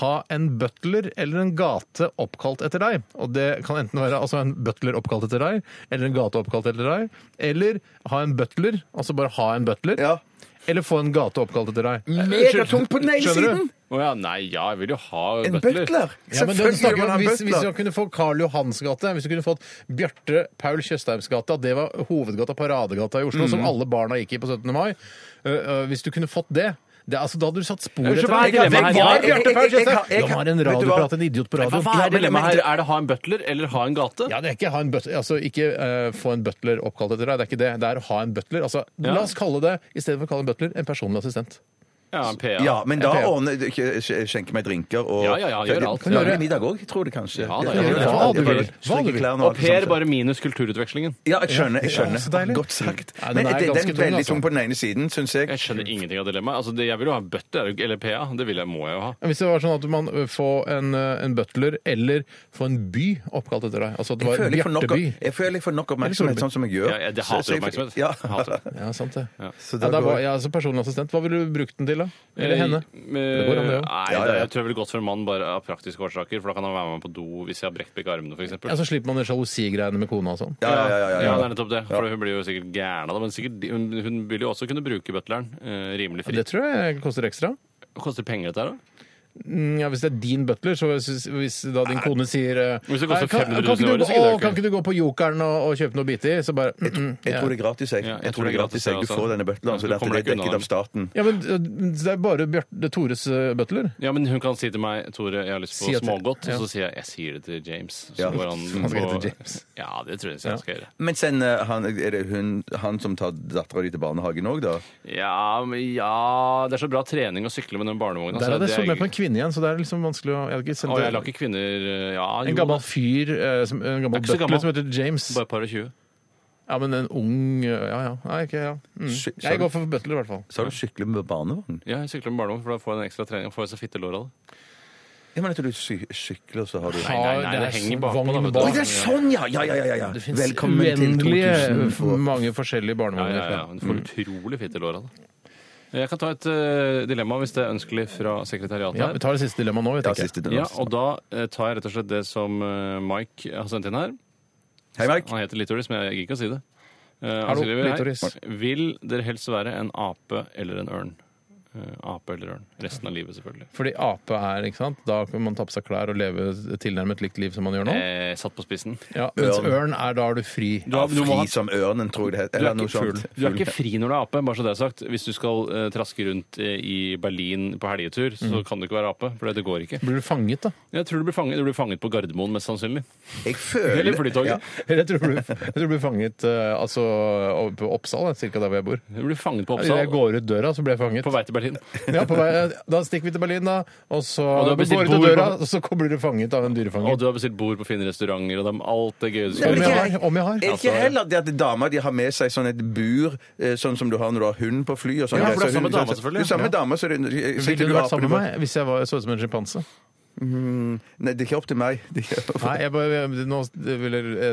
S2: Ha en butler eller en gate oppkalt etter deg. Og det kan enten være altså en butler oppkalt etter deg, eller en gate oppkalt etter deg. Eller ha en butler, altså bare ha en butler.
S3: Ja. Mm.
S2: Eller få en gate oppkalt etter deg.
S3: Megatungt på
S2: Skjønner
S3: nei-siden!
S2: du?
S4: Å ja, nei, ja, jeg vil jo ha
S3: En
S4: butler.
S3: butler!
S2: Ja, men da snakker
S3: vil
S2: man,
S3: en
S2: hvis, hvis du kunne få Karl Johans gate, hvis du kunne fått Bjarte Paul Tjøstheims gate, at det var hovedgata, Paradegata i Oslo, som alle barna gikk i på 17. mai øh, øh, Hvis du kunne fått det, det altså, Da hadde du satt spor
S4: Jeg
S2: etter
S4: skjønner hva er
S2: deg.
S4: dilemmaet
S2: Hvem
S4: her?
S2: var
S4: Jeg- jeg-
S2: Bjarte Paul
S3: jeg- jeg-
S2: Tjøstheim?
S3: jeg-
S2: De har en
S3: vet du hva?
S2: radioprat, en idiot på
S4: Hva
S2: radioen.
S4: faen
S2: Ja,
S4: er dilemmaet her? Er det ha en butler eller ha en gate?
S2: Ja, det er ikke ha en butler, altså ikke øh, få en butler oppkalt etter deg. Det er ikke det. Det er å ha en butler. Altså,
S4: Ja.
S2: La oss kalle det, i stedet for å kalle en butler, en personlig assistent.
S4: Ja, en PA.
S3: Ja, men da
S2: Jeg tror-
S3: ordner skjenker meg drinker og
S4: Ja, ja, ja, gjør alt.
S3: Kan lage middag òg, tror du kanskje.
S4: Ja, da,
S3: Jeg
S4: ja,
S3: tror
S4: ja.
S3: det.
S2: Hva du vil. Hva du
S3: Jeg bare stryker
S2: vil.
S3: klærne og
S4: Og
S3: alt
S4: Per
S3: sånt.
S4: bare minus kulturutvekslingen.
S3: Ja, jeg skjønner. jeg
S2: Ja, så
S3: skjønner.
S2: deilig.
S3: Godt sagt.
S2: Ja, den
S3: Men
S2: er
S3: det, den
S2: ganske
S3: er
S2: tung,
S3: veldig
S2: altså.
S3: tung på den ene siden, syns jeg.
S4: Jeg skjønner ingenting av dilemmaet. Altså, det- jeg vil jo ha bøtter eller PA. Det vil jeg, må jeg jo ha.
S2: Men Hvis det var sånn at man ø, får en, ø, en butler eller får en by oppkalt etter deg, altså at det
S3: Jeg
S2: var
S3: føler jeg, får nok,
S2: Bjarteby
S3: jeg føler jeg får nok oppmerksomhet, sånn som jeg gjør.
S4: Ja, jeg, det
S3: Så- så
S4: hater
S3: jeg-
S4: oppmerksomhet.
S3: Ja.
S4: Hater det.
S2: Ja, sant det. Ja.
S3: Så
S2: da
S3: da går-
S2: var, ja, altså personlig assistent, hva ville du brukt den til, da? Eller henne?
S4: Eh,
S2: Det går an, det, ja.
S4: Nei,
S3: Ja, ja, ja.
S4: jeg tror jeg ville gått for en mann bare av praktiske årsaker. For da kan han være med på do hvis jeg har brekt begge armene, f.eks.
S2: Ja, Så slipper man de sjalusigreiene med kona og sånn.
S3: Ja, ja, ja, ja, ja.
S4: det er nettopp det. For hun blir jo sikkert gæren av det. Men sikkert, hun, hun vil jo også kunne bruke butleren eh, rimelig
S2: Det
S4: fritt.
S2: tror jeg koster ekstra.
S4: koster penger, dette her, da?
S2: Mm, Ja, Hvis det er din butler, så hvis, hvis da din kone sier eh,
S4: Hvis det koster
S2: «Nei, kan, kan, ikke du
S4: 500 000 i året,
S2: gå,
S4: så gidder jeg
S2: å,
S4: ikke».
S2: kan ikke du gå på Jokeren og, og kjøpe noe biter? Så bare mm, mm,
S3: Jeg
S2: ja.
S3: tror det er gratis, jeg.
S4: Ja,
S3: jeg tror det er gratis, jeg. Du
S4: altså.
S3: får denne butleren, så
S4: Ja, du
S3: det
S4: kommer
S3: er
S4: deg ikke unna
S3: dekket av
S4: den.
S3: staten.
S2: ja, men ø, Det er bare Bjarte Tores ø, butler.
S4: Ja, men hun kan si til meg Tore, jeg har lyst på
S2: Si at-
S4: smågodt,
S2: ja.
S4: og så sier jeg jeg sier det til James. Så
S3: Ja.
S4: går han
S2: Han skal
S4: på-
S2: hete James.
S4: Ja, det tror jeg jeg skal gjøre.
S3: Men sen, eh, han, er det hun, han som tar dattera di til barnehagen òg, da?
S4: Ja, men ja Det er så bra trening å sykle med den
S2: Der
S4: barnevogna. så
S2: hadde jeg
S4: Altså, det
S2: så
S4: er-
S2: med på en kvinne igjen, så det er liksom vanskelig å jeg hadde ikke sendt
S4: Å, jeg
S2: det-
S4: lar ikke kvinner eh, Ja, jo.
S2: En gammel fyr, eh, som, en gammel
S4: Er ikke så
S2: butler
S4: gammel.
S2: som heter James.
S4: Bare par og tjue.
S2: Ja, men en ung eh, Ja, ja. Nei, ikke, ja. Mm.
S3: Sy- sa
S2: Jeg
S3: du-
S2: går for butler, i hvert fall.
S3: Sa du sykle med barnevogn?
S4: Ja, jeg sykler med barnevogn, for da får jeg en ekstra trening. Og får jeg så fittelår av det.
S3: Jeg mener at du sy sykler, så har du
S4: Nei, nei, nei,
S2: det
S4: det,
S2: er
S4: henger
S2: sånn
S4: bakpå. Da,
S2: vogn
S4: vet
S2: bak.
S4: du.
S3: Å, det er sånn, ja! Ja, ja, ja. ja.
S2: Det finnes
S3: Velkommen til
S2: uendelige
S3: 2000.
S2: mange forskjellige
S4: Ja,
S2: barnevogner.
S4: ja, ja. Du får utrolig fitte lår av det. Jeg kan ta et eh, dilemma hvis det er ønskelig fra sekretariatet.
S2: Ja, vi
S4: her.
S2: tar det siste dilemmaet nå.
S3: Ja,
S2: Vet jeg
S3: siste
S4: Ja,
S3: dilemma.
S4: og da eh, tar jeg rett og slett det som eh, Mike har sendt inn her.
S3: Hei, Mike.
S4: Han heter Litoris, men jeg gidder ikke å si det. Eh, han
S2: Hallo,
S4: skriver, hei.
S2: Litoris.
S4: Vil dere helst være en ape eller en ørn? Eh, ape eller ørn. Resten av livet, selvfølgelig.
S2: Fordi ape er, ikke sant? Da kan man ta på seg klær og leve tilnærmet likt liv som man gjør nå.
S4: Eh, satt på spissen.
S2: Ja, mens
S3: ørn.
S2: ørn er da er du fri.
S3: Ja,
S4: Ja, du må ha-
S3: fri som ørnen, tror jeg det heter.
S4: Du
S3: Eller
S4: er,
S3: noe
S4: ikke,
S3: sånt.
S4: fugl. du er ikke fri når du er ape, bare så det er sagt. Hvis du skal eh, traske rundt eh, i Berlin på helgetur, så kan du ikke være ape, for det går ikke.
S2: Blir du fanget, da?
S4: Jeg tror du blir fanget, du blir fanget på Gardermoen, mest sannsynlig.
S3: Jeg føler
S4: Eller flytoget.
S3: Ja.
S2: Eller jeg tror du, jeg tror du blir fanget eh, altså, opp- på Oppsal, eh, cirka der hvor jeg bor.
S4: Du blir fanget på
S2: Idet
S4: Oppsal
S2: jeg går ut døra, så blir jeg fanget.
S4: på vei til Berlin.
S2: Ja, på vei. Da stikker vi til Berlin, da. Og så
S4: Og du har
S2: går
S4: bestilt
S2: ut av
S4: bord på-
S2: døra, og så blir du fanget av en
S4: Og
S2: dyrefanger.
S4: du har bestilt bord på fine restauranter, og det er alt det gøye du
S3: Nei,
S4: skal
S2: Om
S3: men
S2: jeg
S4: gjøre.
S3: ikke-
S2: har. Om jeg har.
S3: Er
S4: Altså-
S3: det ikke heller det at damer de har med seg sånn et bur, eh, sånn som du har når du har hund på fly? Og sånn
S4: Ja,
S3: greier,
S4: for det er
S3: så hun-
S4: samme dame,
S3: så-
S4: selvfølgelig.
S3: Det er samme
S4: Ja.
S3: dame, så det,
S2: Ville du vært sammen med meg hvis jeg var, så ut som en sjimpanse?
S3: Mm, Nei, det er ikke opp til meg. Det er ikke opp-
S2: Nei, jeg bare nå ville Ja, det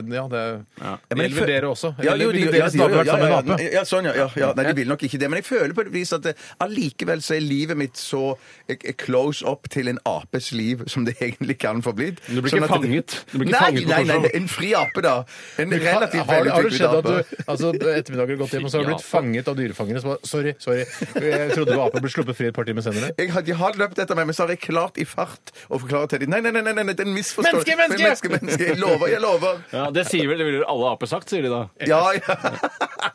S3: men jeg
S2: Gjelder
S3: føl-
S2: dere også?
S3: Ja,
S2: Eller
S3: jo, de,
S2: ville
S3: ja,
S2: deres
S3: de, ja,
S2: damer vært
S3: ja,
S2: sammen med
S3: ja,
S2: en ape?
S3: ja, ja, sånn, ja, ja, ja. Nei, de vil nok ikke det. Men jeg føler på et vis at det, allikevel så er livet mitt så eh, eh, close up til en apes liv som det egentlig kan få blitt.
S4: Du blir ikke
S3: Sånn at det-
S4: fanget. Du blir ikke
S3: Nei,
S4: fanget på
S3: nei, nei,
S4: Torshov.
S3: en fri ape, da. En relativt
S2: har, har det
S3: velutviklet
S2: skjedd at
S3: ape.
S2: du altså, ettermiddager har gått hjem og så har du blitt
S4: Fy ape.
S2: fanget av dyrefangere? Så bare, sorry, sorry. Jeg trodde det var ape. Ble sluppet fri et par timer senere.
S3: Jeg har, de har løpt etter meg, men så har jeg klart i fart å forklare til dem Nei, nei, nei, nei, nei, nei den misforstår
S2: Menneske, menneske!
S3: menneske, menneske! Jeg lover, jeg lover!
S4: Ja, det sier vel det ville alle aper sagt, sier de da.
S3: Ja, ja.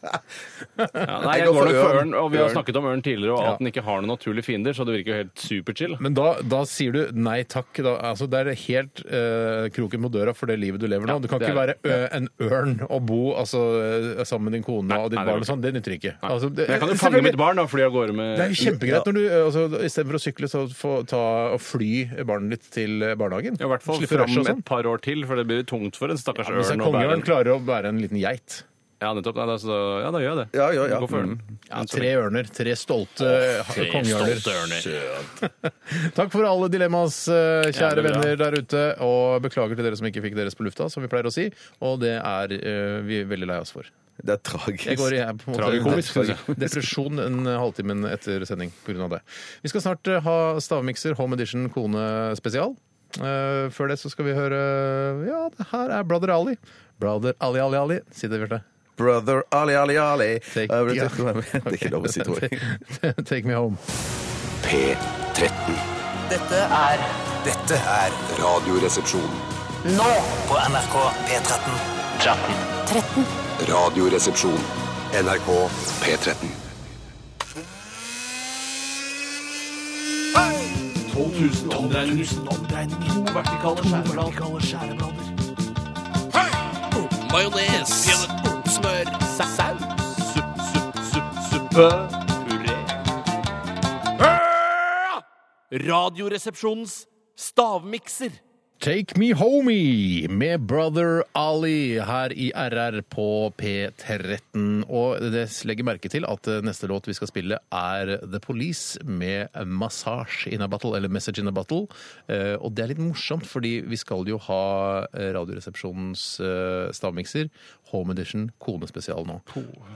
S4: Ja, nei,
S3: Jeg
S4: jeg
S3: går
S4: går
S3: for
S4: nok for
S3: ørn.
S4: ørn, og vi har
S3: Ørn.
S4: snakket om ørn tidligere, og
S2: Ja.
S4: at den ikke har noen naturlige fiender, så det virker jo helt superchill.
S2: Men da, da sier du nei takk. Da, altså, det er helt eh, kroken på døra for det livet du lever nå.
S4: Ja,
S2: du kan
S4: det
S2: ikke
S4: er
S2: være ø, en ørn og bo altså, eh, sammen med din kone og ditt
S4: nei, det går
S2: barn. og sånn. Det nytter ikke. Altså, det-
S4: Men jeg kan jo fange
S2: selvfølgelig-
S4: mitt barn da, fordi jeg går med
S2: Det er jo kjempegreit når du eh, altså, istedenfor å sykle, så få ta og fly barnet ditt til eh, barnehagen.
S4: Ja, I hvert fall
S2: Slippe
S4: fram
S2: rushet og
S4: et
S2: sånn.
S4: par år til, for det blir tungt for en stakkars
S2: Hvis en
S4: ørn å bære
S2: kongeørn
S4: en
S2: klarer å bære en liten geit.
S4: Ja, nettopp. Nei, da, så, ja, da gjør jeg det.
S3: Ja, ja, ja. Mm.
S4: Gå for ørnen.
S2: Ja, Mm. tre ørner. Tre stolte eh, kongeørner. Takk for alle dilemmas, eh,
S4: Ja, det
S2: kjære
S4: er bra.
S2: venner der ute. Og beklager til dere som ikke fikk deres på lufta, som vi pleier å si. Og det er eh, vi er veldig lei oss for.
S3: Det er tragisk.
S2: Jeg går i jeg er på en måte
S4: Tragikomisk, synes
S2: jeg. depresjon en halvtime etter sending pga. det. Vi skal snart eh, ha stavmikser Home Edition kone spesial. Eh, før det så skal vi høre eh, Ja, det her er Brother Ali. Brother Ali Ali Ali. Si det, Bjarte.
S3: Brother Ali Ali Ali.
S2: Take-
S3: Ja, det
S2: ja.
S3: er ikke lov å si, tror jeg.
S2: Take me home.
S11: P13.
S12: Dette er
S11: Dette er
S6: Radioresepsjon.
S12: nå på NRK P13.
S6: Radioresepsjon. NRK P13.
S10: 12 000 omdreininger. To vertikale skjæreblader. Majones. Smør. Saus. Suppe. Puré.
S13: Radioresepsjonens stavmikser.
S2: Take Me Homey med Brother Ali her i RR på P13. Og det legger merke til at eh, neste låt vi skal spille, er The Police med Massage in a Battle, eller Message in a Battle. Eh, Og det er litt morsomt, fordi vi skal jo ha eh, Radioresepsjonens eh, stavmikser, Home Edition, konespesial nå.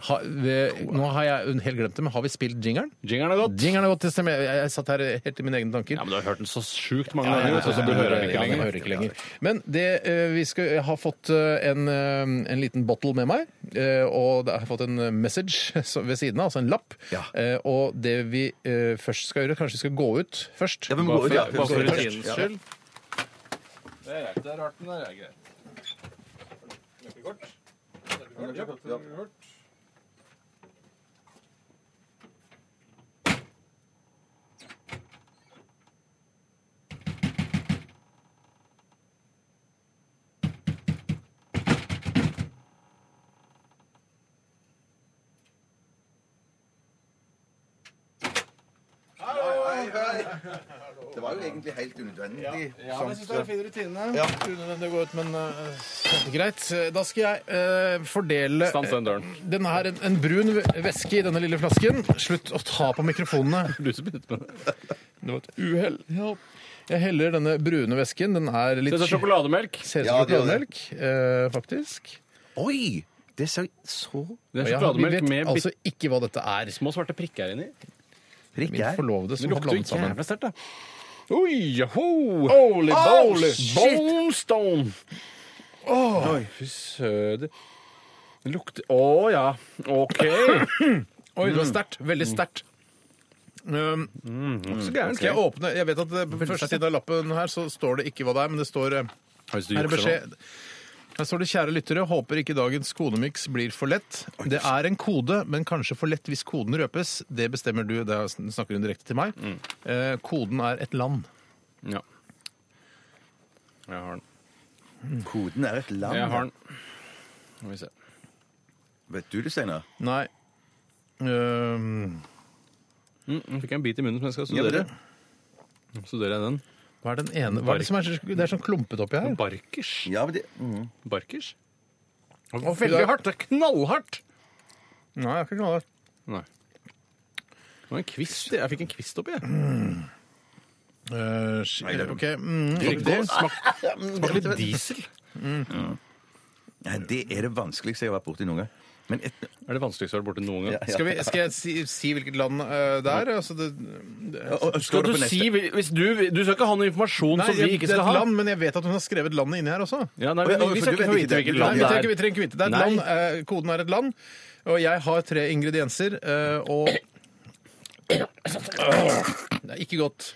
S2: Ha, vi, nå har jeg helt glemt det, men har vi spilt jingeren?
S4: Jingeren er godt.
S2: Jingeren er godt, det stemmer. Jeg, jeg satt her helt i mine egne tanker.
S4: Ja, men du har hørt den så sjukt mange
S2: Ja, ja, ja,
S4: ganger,
S2: ja,
S4: vet du, så du
S2: ja,
S4: hører
S2: ja,
S4: den ikke
S2: ja, jeg
S4: lenger.
S2: hører ikke lenger. Men det, eh, vi skal, jeg har fått eh, en, eh, en liten bottle med meg, eh, og da har jeg fått en message så- ved siden av, altså en lapp. Eh, og det vi eh, først skal gjøre, kanskje vi skal gå ut først?
S3: Ja, vi
S2: Bare
S3: må gå ut,
S2: for-
S3: ja.
S2: bare for
S3: Vi må gå ut
S2: rutinens
S3: først.
S2: skyld.
S4: Det er greit. Det er rart, men det er greit.
S3: Det var jo egentlig helt unødvendig.
S2: Ja, men jeg synes det er en fin rutine.
S3: Ja.
S2: Unødvendig å gå ut, men eh, det er greit. Da skal jeg eh, fordele eh,
S4: Stans den døren.
S2: Denne her, en, en brun væske i denne lille flasken. Slutt å ta på mikrofonene.
S4: Du som begynte med det.
S2: Det var et uhell. Ja. Jeg heller denne brune væsken. Den er litt
S4: Det er sjokolademelk.
S2: Ser ut
S3: Ja,
S2: som
S3: det gjør det.
S2: sjokolademelk, eh, faktisk.
S3: Oi! Det ser så
S4: Det
S2: Og jeg har- vi
S4: er sjokolademelk
S2: vet
S4: med
S2: altså ikke hva dette er.
S4: små svarte prikker inni.
S2: Min forlovede
S4: Det
S2: som har
S4: lukter jo
S2: blandet sammen.
S4: jævla sterkt, da. Oi, jaho! Ah,
S2: Holy moly!
S4: Bone stone! Oi, fy søde. Det lukter Å ja. OK.
S2: Oi, det var sterkt. Veldig
S4: Mm.
S2: sterkt. Um, Skal jeg åpne Jeg vet at eh, på første side av lappen her så står det ikke hva det er, men det står eh, Her er beskjed. Her står det 'Kjære lyttere, håper ikke dagens kodemiks blir for lett'. Det er en kode, men kanskje for lett hvis koden røpes. Det bestemmer du. Det er- snakker hun direkte til meg.
S4: Mm.
S2: Eh, koden er et land.
S4: Ja. Jeg har den.
S3: Koden er et land.
S4: Jeg har den. Skal vi se.
S3: Vet du det, Steinar?
S2: Nei. Ehm,
S4: Mm, nå fikk jeg en bit i munnen som jeg skal
S3: Ja, men
S4: studere. Studerer jeg den?
S2: hva er den ene hva er det, som er, så- det er sånn klumpet oppi her.
S4: Barkers.
S3: Ja, men det...
S4: Barkers?
S2: Og
S4: Veldig hardt. Det er knallhardt.
S2: Nei, jeg har ikke knallhardt.
S4: Nei. Det var en kvist. Jeg fikk en kvist oppi, jeg.
S2: Eh, sk-
S3: Nei, det er-
S2: OK. Mm,
S4: Riktig.
S2: riktig.
S4: Smak, smaker litt diesel.
S3: Nei, det er det vanskeligste jeg har vært borti noen gang. Men et...
S4: Er det vanskeligste du har vært borti noen gang?
S3: Ja, ja.
S2: Skal, vi, skal jeg si, si hvilket land eh, det er? Altså det, det
S3: Og- og-
S4: Skal
S3: står det
S4: du
S3: på neste?
S4: si Hvis du Du skal ikke ha noe informasjon
S2: Nei,
S4: som vi
S2: jeg,
S4: ikke
S2: det er
S4: skal
S2: et
S4: ha?
S2: land, men jeg vet at hun har skrevet landet inni her også.
S4: Ja, nei,
S3: Å,
S4: vi,
S3: ja,
S4: vi
S3: for
S4: skal
S3: du
S4: ikke
S3: vet ikke
S4: få vite
S3: hvilket
S4: hvilket
S2: Nei,
S4: land
S2: vi
S4: det
S2: trenger,
S4: er.
S2: vi trenger ikke vite. Det er et
S4: Nei.
S2: land. eh, koden er et land. Og jeg har tre ingredienser, eh, og Det er ikke godt.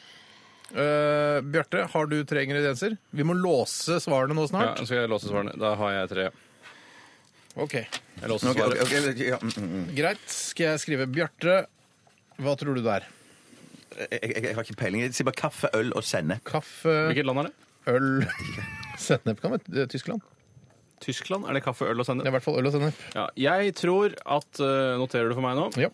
S2: Eh, Bjarte, har du tre ingredienser? Vi må låse svarene nå
S4: Ja,
S2: snart.
S4: nå skal jeg låse svarene. Da har jeg tre.
S2: Ok,
S4: Jeg låser
S3: Ok, ok,
S4: svaret.
S3: ok, ok, ja, mm, mm, mm.
S2: Greit. Skal jeg skrive Bjarte, hva tror du det er?
S3: Jeg, jeg, jeg har ikke peiling. Jeg sier bare kaffe, øl og sennep.
S2: Kaffe,
S4: Hvilket land er det?
S2: øl Sennep kan være eh, Tyskland.
S4: Tyskland? Er det kaffe, øl og
S2: Det er
S4: sennep?
S2: i hvert fall øl og sennep.
S4: Ja, jeg tror at eh, Noterer du for meg nå?
S2: Ja.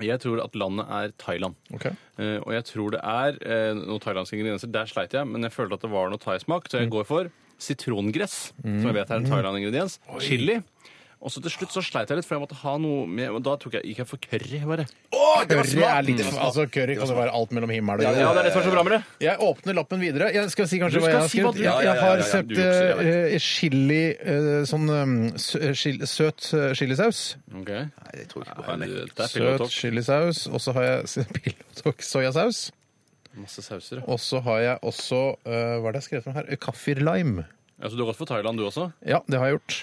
S4: Jeg tror at landet er Thailand.
S2: Ok.
S4: Eh, og jeg tror det er eh, noen thailandske ingredienser. Der sleit jeg, men jeg følte at det var noe thaismak, så jeg går for sitrongress, som jeg vet er en Thailand-ingrediens. Chili. Og så til slutt så sleit jeg litt, for jeg måtte ha noe med og Da tok jeg, gikk jeg for curry, bare.
S2: Curry er litt Altså, curry kan jo være alt mellom himmel og jord.
S4: Ja, det er det som er så bra med det.
S2: Jeg åpner lappen videre. Jeg skal si kanskje
S4: Du
S2: hva jeg
S4: skal
S2: har
S4: si hva
S2: skrevet.
S4: du-
S2: Jeg-
S4: Ja,
S2: Jeg
S4: ja, ja,
S2: har
S4: ja, ja.
S2: sett
S4: Du jukser, jeg
S2: eh, chili eh, Sånn eh, sø- chili- søt eh, chilisaus.
S4: Ok.
S3: Nei, det tror jeg ikke på.
S4: Nei,
S3: Nei.
S4: det er
S2: Søt
S4: pilotok.
S2: chilisaus. Og så har jeg s- pilotok soyasaus.
S4: Masse sauser. ja.
S2: Og så har jeg også eh, Hva er det jeg har skrevet om her? Kaffir lime.
S4: Ja, så du har gått for Thailand, du også?
S2: Ja, det har jeg gjort.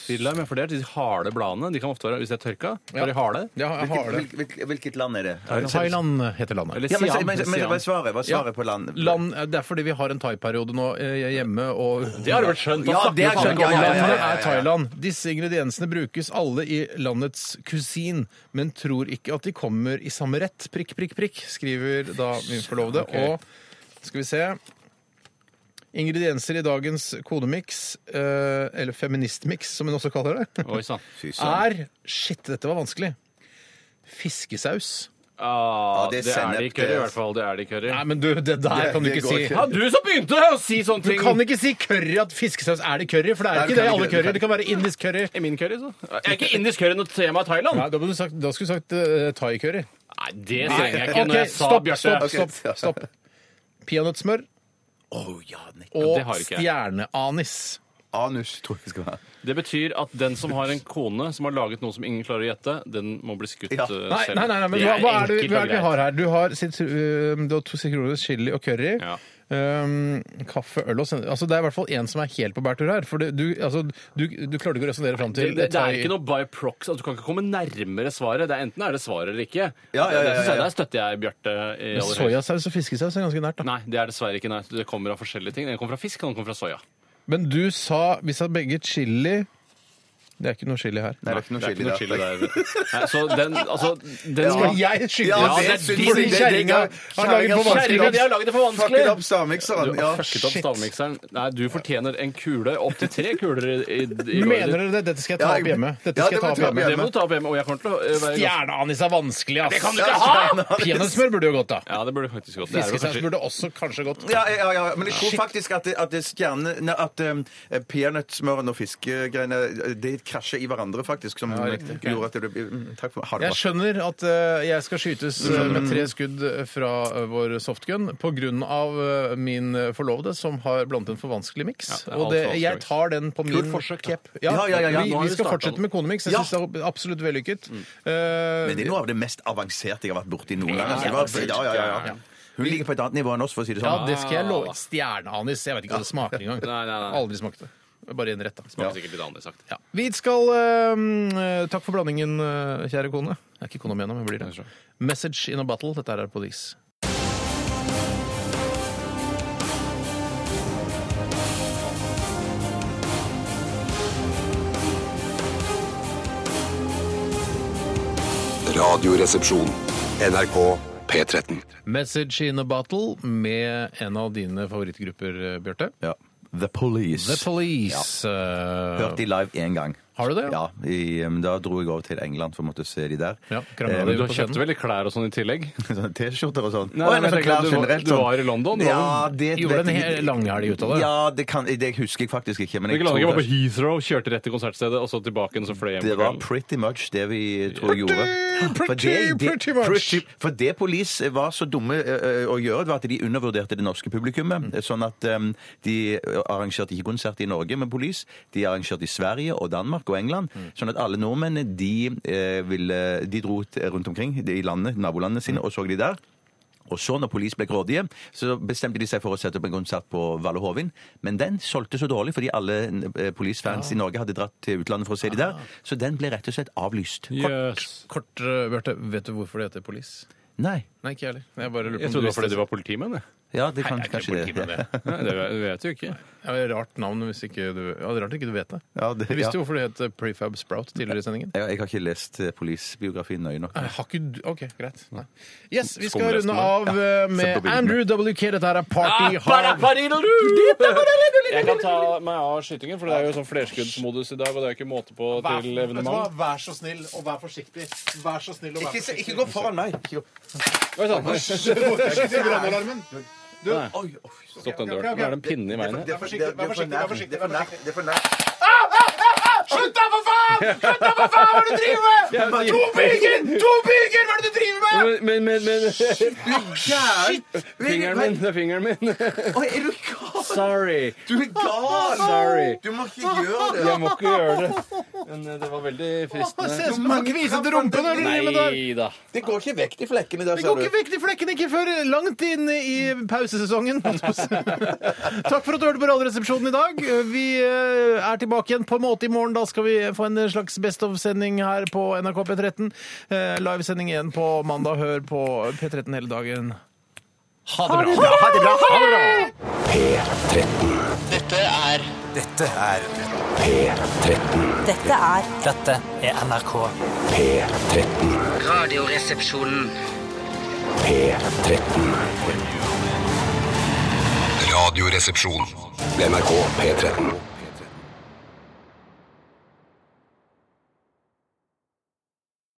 S4: Sirla, men for det er de harde bladene. De kan ofte være, hvis det er tørka, så
S2: Ja.
S4: er de harde.
S2: Ja, jeg har
S3: Hvilket,
S2: det.
S3: hvilket, hvilket, hvilket land er det?
S2: Thailand heter landet.
S4: Eller
S3: Ja, men, men,
S4: Siam.
S3: men,
S4: Siam.
S3: hva er svaret? Hva er svaret på land?
S2: Land, eh, det er fordi vi har en thaiperiode nå eh, hjemme og
S4: Det har du vel skjønt?
S3: Ja,
S4: Da
S3: det er skjønt,
S4: snakker vi faen ikke om
S3: ja, ja, ja,
S4: land.
S3: ja.
S2: Landet er Thailand. Disse ingrediensene brukes alle i landets kusin, men tror ikke at de kommer i samme rett. Prikk, prikk, prikk, skriver da min forlovede. Og skal vi se Ingredienser i dagens kodemiks, eh, eller feministmiks som hun også kaller det,
S4: Oi sann.
S3: Fy søren.
S2: er Shit, dette var vanskelig. Fiskesaus. Ja,
S4: Ah,
S2: det er
S4: det, er
S2: sennep,
S4: det ikke, Harry,
S2: det
S4: i
S2: er-
S4: hvert fall. Det er det ikke, Harry.
S2: Nei, men du, det der
S4: Det-
S2: kan du
S4: det
S2: ikke
S4: går
S2: si.
S4: ikke. Ja, du som begynte å si sånne ting!
S2: Du kan ikke si curry at fiskesaus er det curry, for det er
S4: Nei, du
S2: ikke det
S4: kan
S2: i alle
S4: ikke- du
S2: curry.
S4: kan-
S2: Det kan være indisk curry.
S4: I min curry, så. Er ikke indisk curry noe tema i Thailand?
S2: Nei, da, burde du sagt, da skulle du sagt eh, thai-curry.
S4: Nei, det trenger jeg ikke
S2: Ok,
S4: når jeg sa
S2: stopp,
S4: Bjarte.
S2: Stopp, stopp, stopp. Peanøttsmør
S4: det
S2: og
S4: har ikke jeg.
S2: stjerneanis.
S3: Anus, tror jeg det skal være.
S4: Det betyr at den som har en kone som har laget noe som ingen klarer å gjette, den må bli skutt eh, selv.
S2: Nei, nei, nei, nei men hva, hva er det, hva er det vi har her? Du har, sit- uh, du har to sitroner, chili og curry. Um, kaffe, øl og sennep. Altså, det er i hvert fall en som er helt på bærtur her. For det, du, altså, du, du klarte ikke å resonnere fram
S4: Det,
S2: til
S4: det, det er
S2: thai-
S4: ikke noe by prox. Altså, du kan ikke komme nærmere svaret. Det er enten er det svar eller ikke.
S2: Ja, ja, ja, ja,
S4: Det synes jeg-
S2: ja.
S4: Der støtter jeg Bjarte. i
S2: Men
S4: aller høyeste.
S2: Soyasaus og fiskesaus er ganske nært. da.
S4: Nei, det er dessverre ikke. Nei. Det kommer av forskjellige ting. Den kommer fra fisk, den kommer fra soya.
S2: Men du sa Vi sa begge chili. Det er ikke noe chili her.
S4: Nei, så den, altså, den
S2: Ja. Skal jeg skylde- Ja, det syns jeg- det- det- kjerringa har laget det for vanskelig.
S4: Kjerringa, de har laget det for vanskelig.
S3: Fucket opp stavmikseren,
S4: Du har
S3: ja.
S4: fucket opp
S3: Shit.
S4: stavmikseren. Nei, du fortjener en kule. Opptil tre kuler i, i, i
S2: Mener dere det? Dette skal jeg ta opp hjemme. Dette skal jeg ta opp hjemme.
S4: Det må du ta opp hjemme. Og jeg kommer til å eh, være
S2: Stjerneanis er vanskelig, ass!
S4: Det kan du ikke ha!
S2: Peanøttsmør burde jo gått, da.
S4: Ja, det burde faktisk gått. Det er vel
S2: Fiskesaus
S4: kanskje-
S2: burde også kanskje gått.
S3: Ja, ja, ja, men jeg tror faktisk at, det- at det stjerne... Nei, at um, peanøttsmøren og fiskegreiene Det krasjer i hverandre, faktisk, som gjorde at det ble mm, Takk for ha det.
S2: Jeg
S3: bra.
S2: skjønner at eh, jeg skal skytes eh,
S4: Mm.
S2: med tre skudd fra eh, vår softgun pga. Uh, min eh, forlovede som har blandet en for vanskelig miks.
S4: Ja, det er alt
S2: og det,
S4: for vanskelig
S2: jeg
S4: mix.
S2: tar den på min
S4: Kult forsøk, da.
S2: kjepp. Ja,
S4: Ja, ja, ja, ja,
S2: vi,
S4: nå har
S2: vi
S4: vi
S2: skal
S4: startet.
S2: fortsette med konemix. Jeg
S4: Ja. Mm.
S2: syns det er absolutt vellykket. Eh,
S3: Men det er noe av det mest avanserte jeg har vært borti noen gang. Altså, det var, ja, ja, ja, ja. Hun ligger på et annet nivå enn oss, for å si det
S2: ja,
S3: sånn.
S2: det skal jeg love. Stjerneanis. Jeg vet ikke hva det smaker engang.
S4: Nei, nei, nei.
S2: Aldri smakt det. Bare en rett, da.
S4: Smaker sikkert litt annerledes sagt.
S2: Vi skal eh, Takk for blandingen, eh, kjære kone. Det er ikke kona mi ennå, men blir det. Message in a battle. Dette her er på dis.
S6: Radioresepsjon. NRK P13.
S2: Message in a battle med en av dine favorittgrupper, eh, Bjarte.
S3: Ja. The Police.
S2: The Police. eh,
S3: Hørt de live én gang.
S2: Har du det?
S3: Ja, i, um, Da dro jeg over til England for å måtte se de der.
S2: Ja, kranglet
S3: Eh,
S2: dere
S4: Du
S2: på
S4: har kjøpt vel litt klær og sånn i tillegg?
S3: Sånne T-skjorter og sånn.
S4: Nei,
S3: Og en
S4: men
S3: sånn
S4: jeg
S3: klær
S4: tenker at du var-
S3: generelt,
S4: du
S3: sånn.
S4: var i London, du var-
S3: Ja, det
S4: Gjorde
S3: vet
S4: en
S3: jeg-
S4: hel langhelg ut av det.
S3: Ja, det, kan, det husker jeg faktisk ikke. Men jeg
S4: Hvilken landing
S3: tror
S4: var på
S3: det-
S4: Heathrow, kjørte rett til konsertstedet, og så tilbake igjen, og så fløy hjem?
S3: Det
S4: på
S3: var
S4: kvelden?
S3: pretty much det vi eh, tror jeg gjorde. For det- det-
S2: pretty much.
S3: for det police var så dumme eh, eh, å gjøre, det var at de undervurderte det norske
S4: Mm.
S3: publikummet. Sånn at eh, de arrangerte ikke konsert i Norge med police, de arrangerte i Sverige og Danmark og England.
S4: Mm.
S3: Sånn at alle nordmennene, de, eh, ville, de dro til- rundt omkring i landet, nabolandene
S4: Mm.
S3: sine, og så de der. Og så, når Police ble grådige, så bestemte de seg for å sette opp en konsert på Valle Hovin. Men den solgte så dårlig fordi alle eh, Police-fans i Norge hadde dratt til utlandet for å se de
S2: Ah.
S3: der. Så den ble rett og slett avlyst.
S2: Kort, eh, Bjarte. Vet du hvorfor det heter Police?
S3: Nei.
S2: Nei, ikke jeg heller. Jeg bare lurer på
S4: Jeg trodde det var fordi du var politimann, jeg.
S3: Ja, det kan
S2: Nei, jeg er ikke
S3: kanskje
S2: politimann,
S3: det.
S2: jeg.
S4: Nei, det vet du ikke.
S2: Ja, det er Rart navn hvis ikke du ja, det er Rart ikke du vet det.
S3: Ja, det-
S2: du visste
S3: ja.
S2: jo hvorfor det het eh, Prefab Sprout tidligere i sendingen.
S3: Jeg, jeg har ikke lest eh, Police-biografien nøye nok.
S2: Nei, Har ikke du OK, greit. Nei. Yes, vi skal
S3: Skumleste
S2: runde
S3: navn.
S2: av
S3: Ja,
S2: eh,
S3: se på
S2: med
S3: bildene.
S2: Andrew WK. Dette her er
S4: Ah,
S2: Party
S4: bara,
S2: Hard.
S4: bara, du, du, du, du. Jeg kan ta meg av skytingen, for det er jo sånn flerskuddsmodus i dag, og det er jo ikke måte på til evenement.
S2: vær så snill og vær forsiktig. Vær så snill og vær forsiktig.
S3: gå foran meg!
S4: Oi
S2: sånn.
S4: sann.
S2: Skyt i brannalarmen.
S4: Stopp den døren. Nå er det en pinne i veien her.
S2: Vær forsiktig, vær forsiktig, vær forsiktig, vær forsiktig.
S3: Det er for nært.
S2: Slutt da, for faen! Slutt da, for faen! Hva er det du driver med?! To piker! To piker! Hva er det du driver med?!
S4: Men, men, men
S3: Gæren!
S4: Fingeren min. Det er fingeren min.
S3: Oi, er du gal?
S4: Sorry.
S3: Du er gal!
S4: Sorry.
S3: Du må ikke gjøre det!
S4: Jeg må ikke gjøre det. Men eh, det var veldig fristende.
S2: ut som en kvisete rumpe når du driver med det!
S4: Nei da.
S3: Det går ikke vekk, de flekkene der,
S2: Det går ikke vekk de flekkene ikke før langt inn i pausesesongen. Takk for at du hørte på Radioresepsjonen i dag. Vi eh, er tilbake igjen på en måte i morgen. Da skal vi få en slags Best of-sending her på NRK P13. Eh, Livesending igjen på mandag. Hør på P13 hele dagen. Ha det bra! Ha det bra! Ha det bra!
S12: Dette er
S11: Dette er
S14: Dette er
S12: Dette er NRK.
S14: Radioresepsjonen.
S6: Radioresepsjon. NRK P13.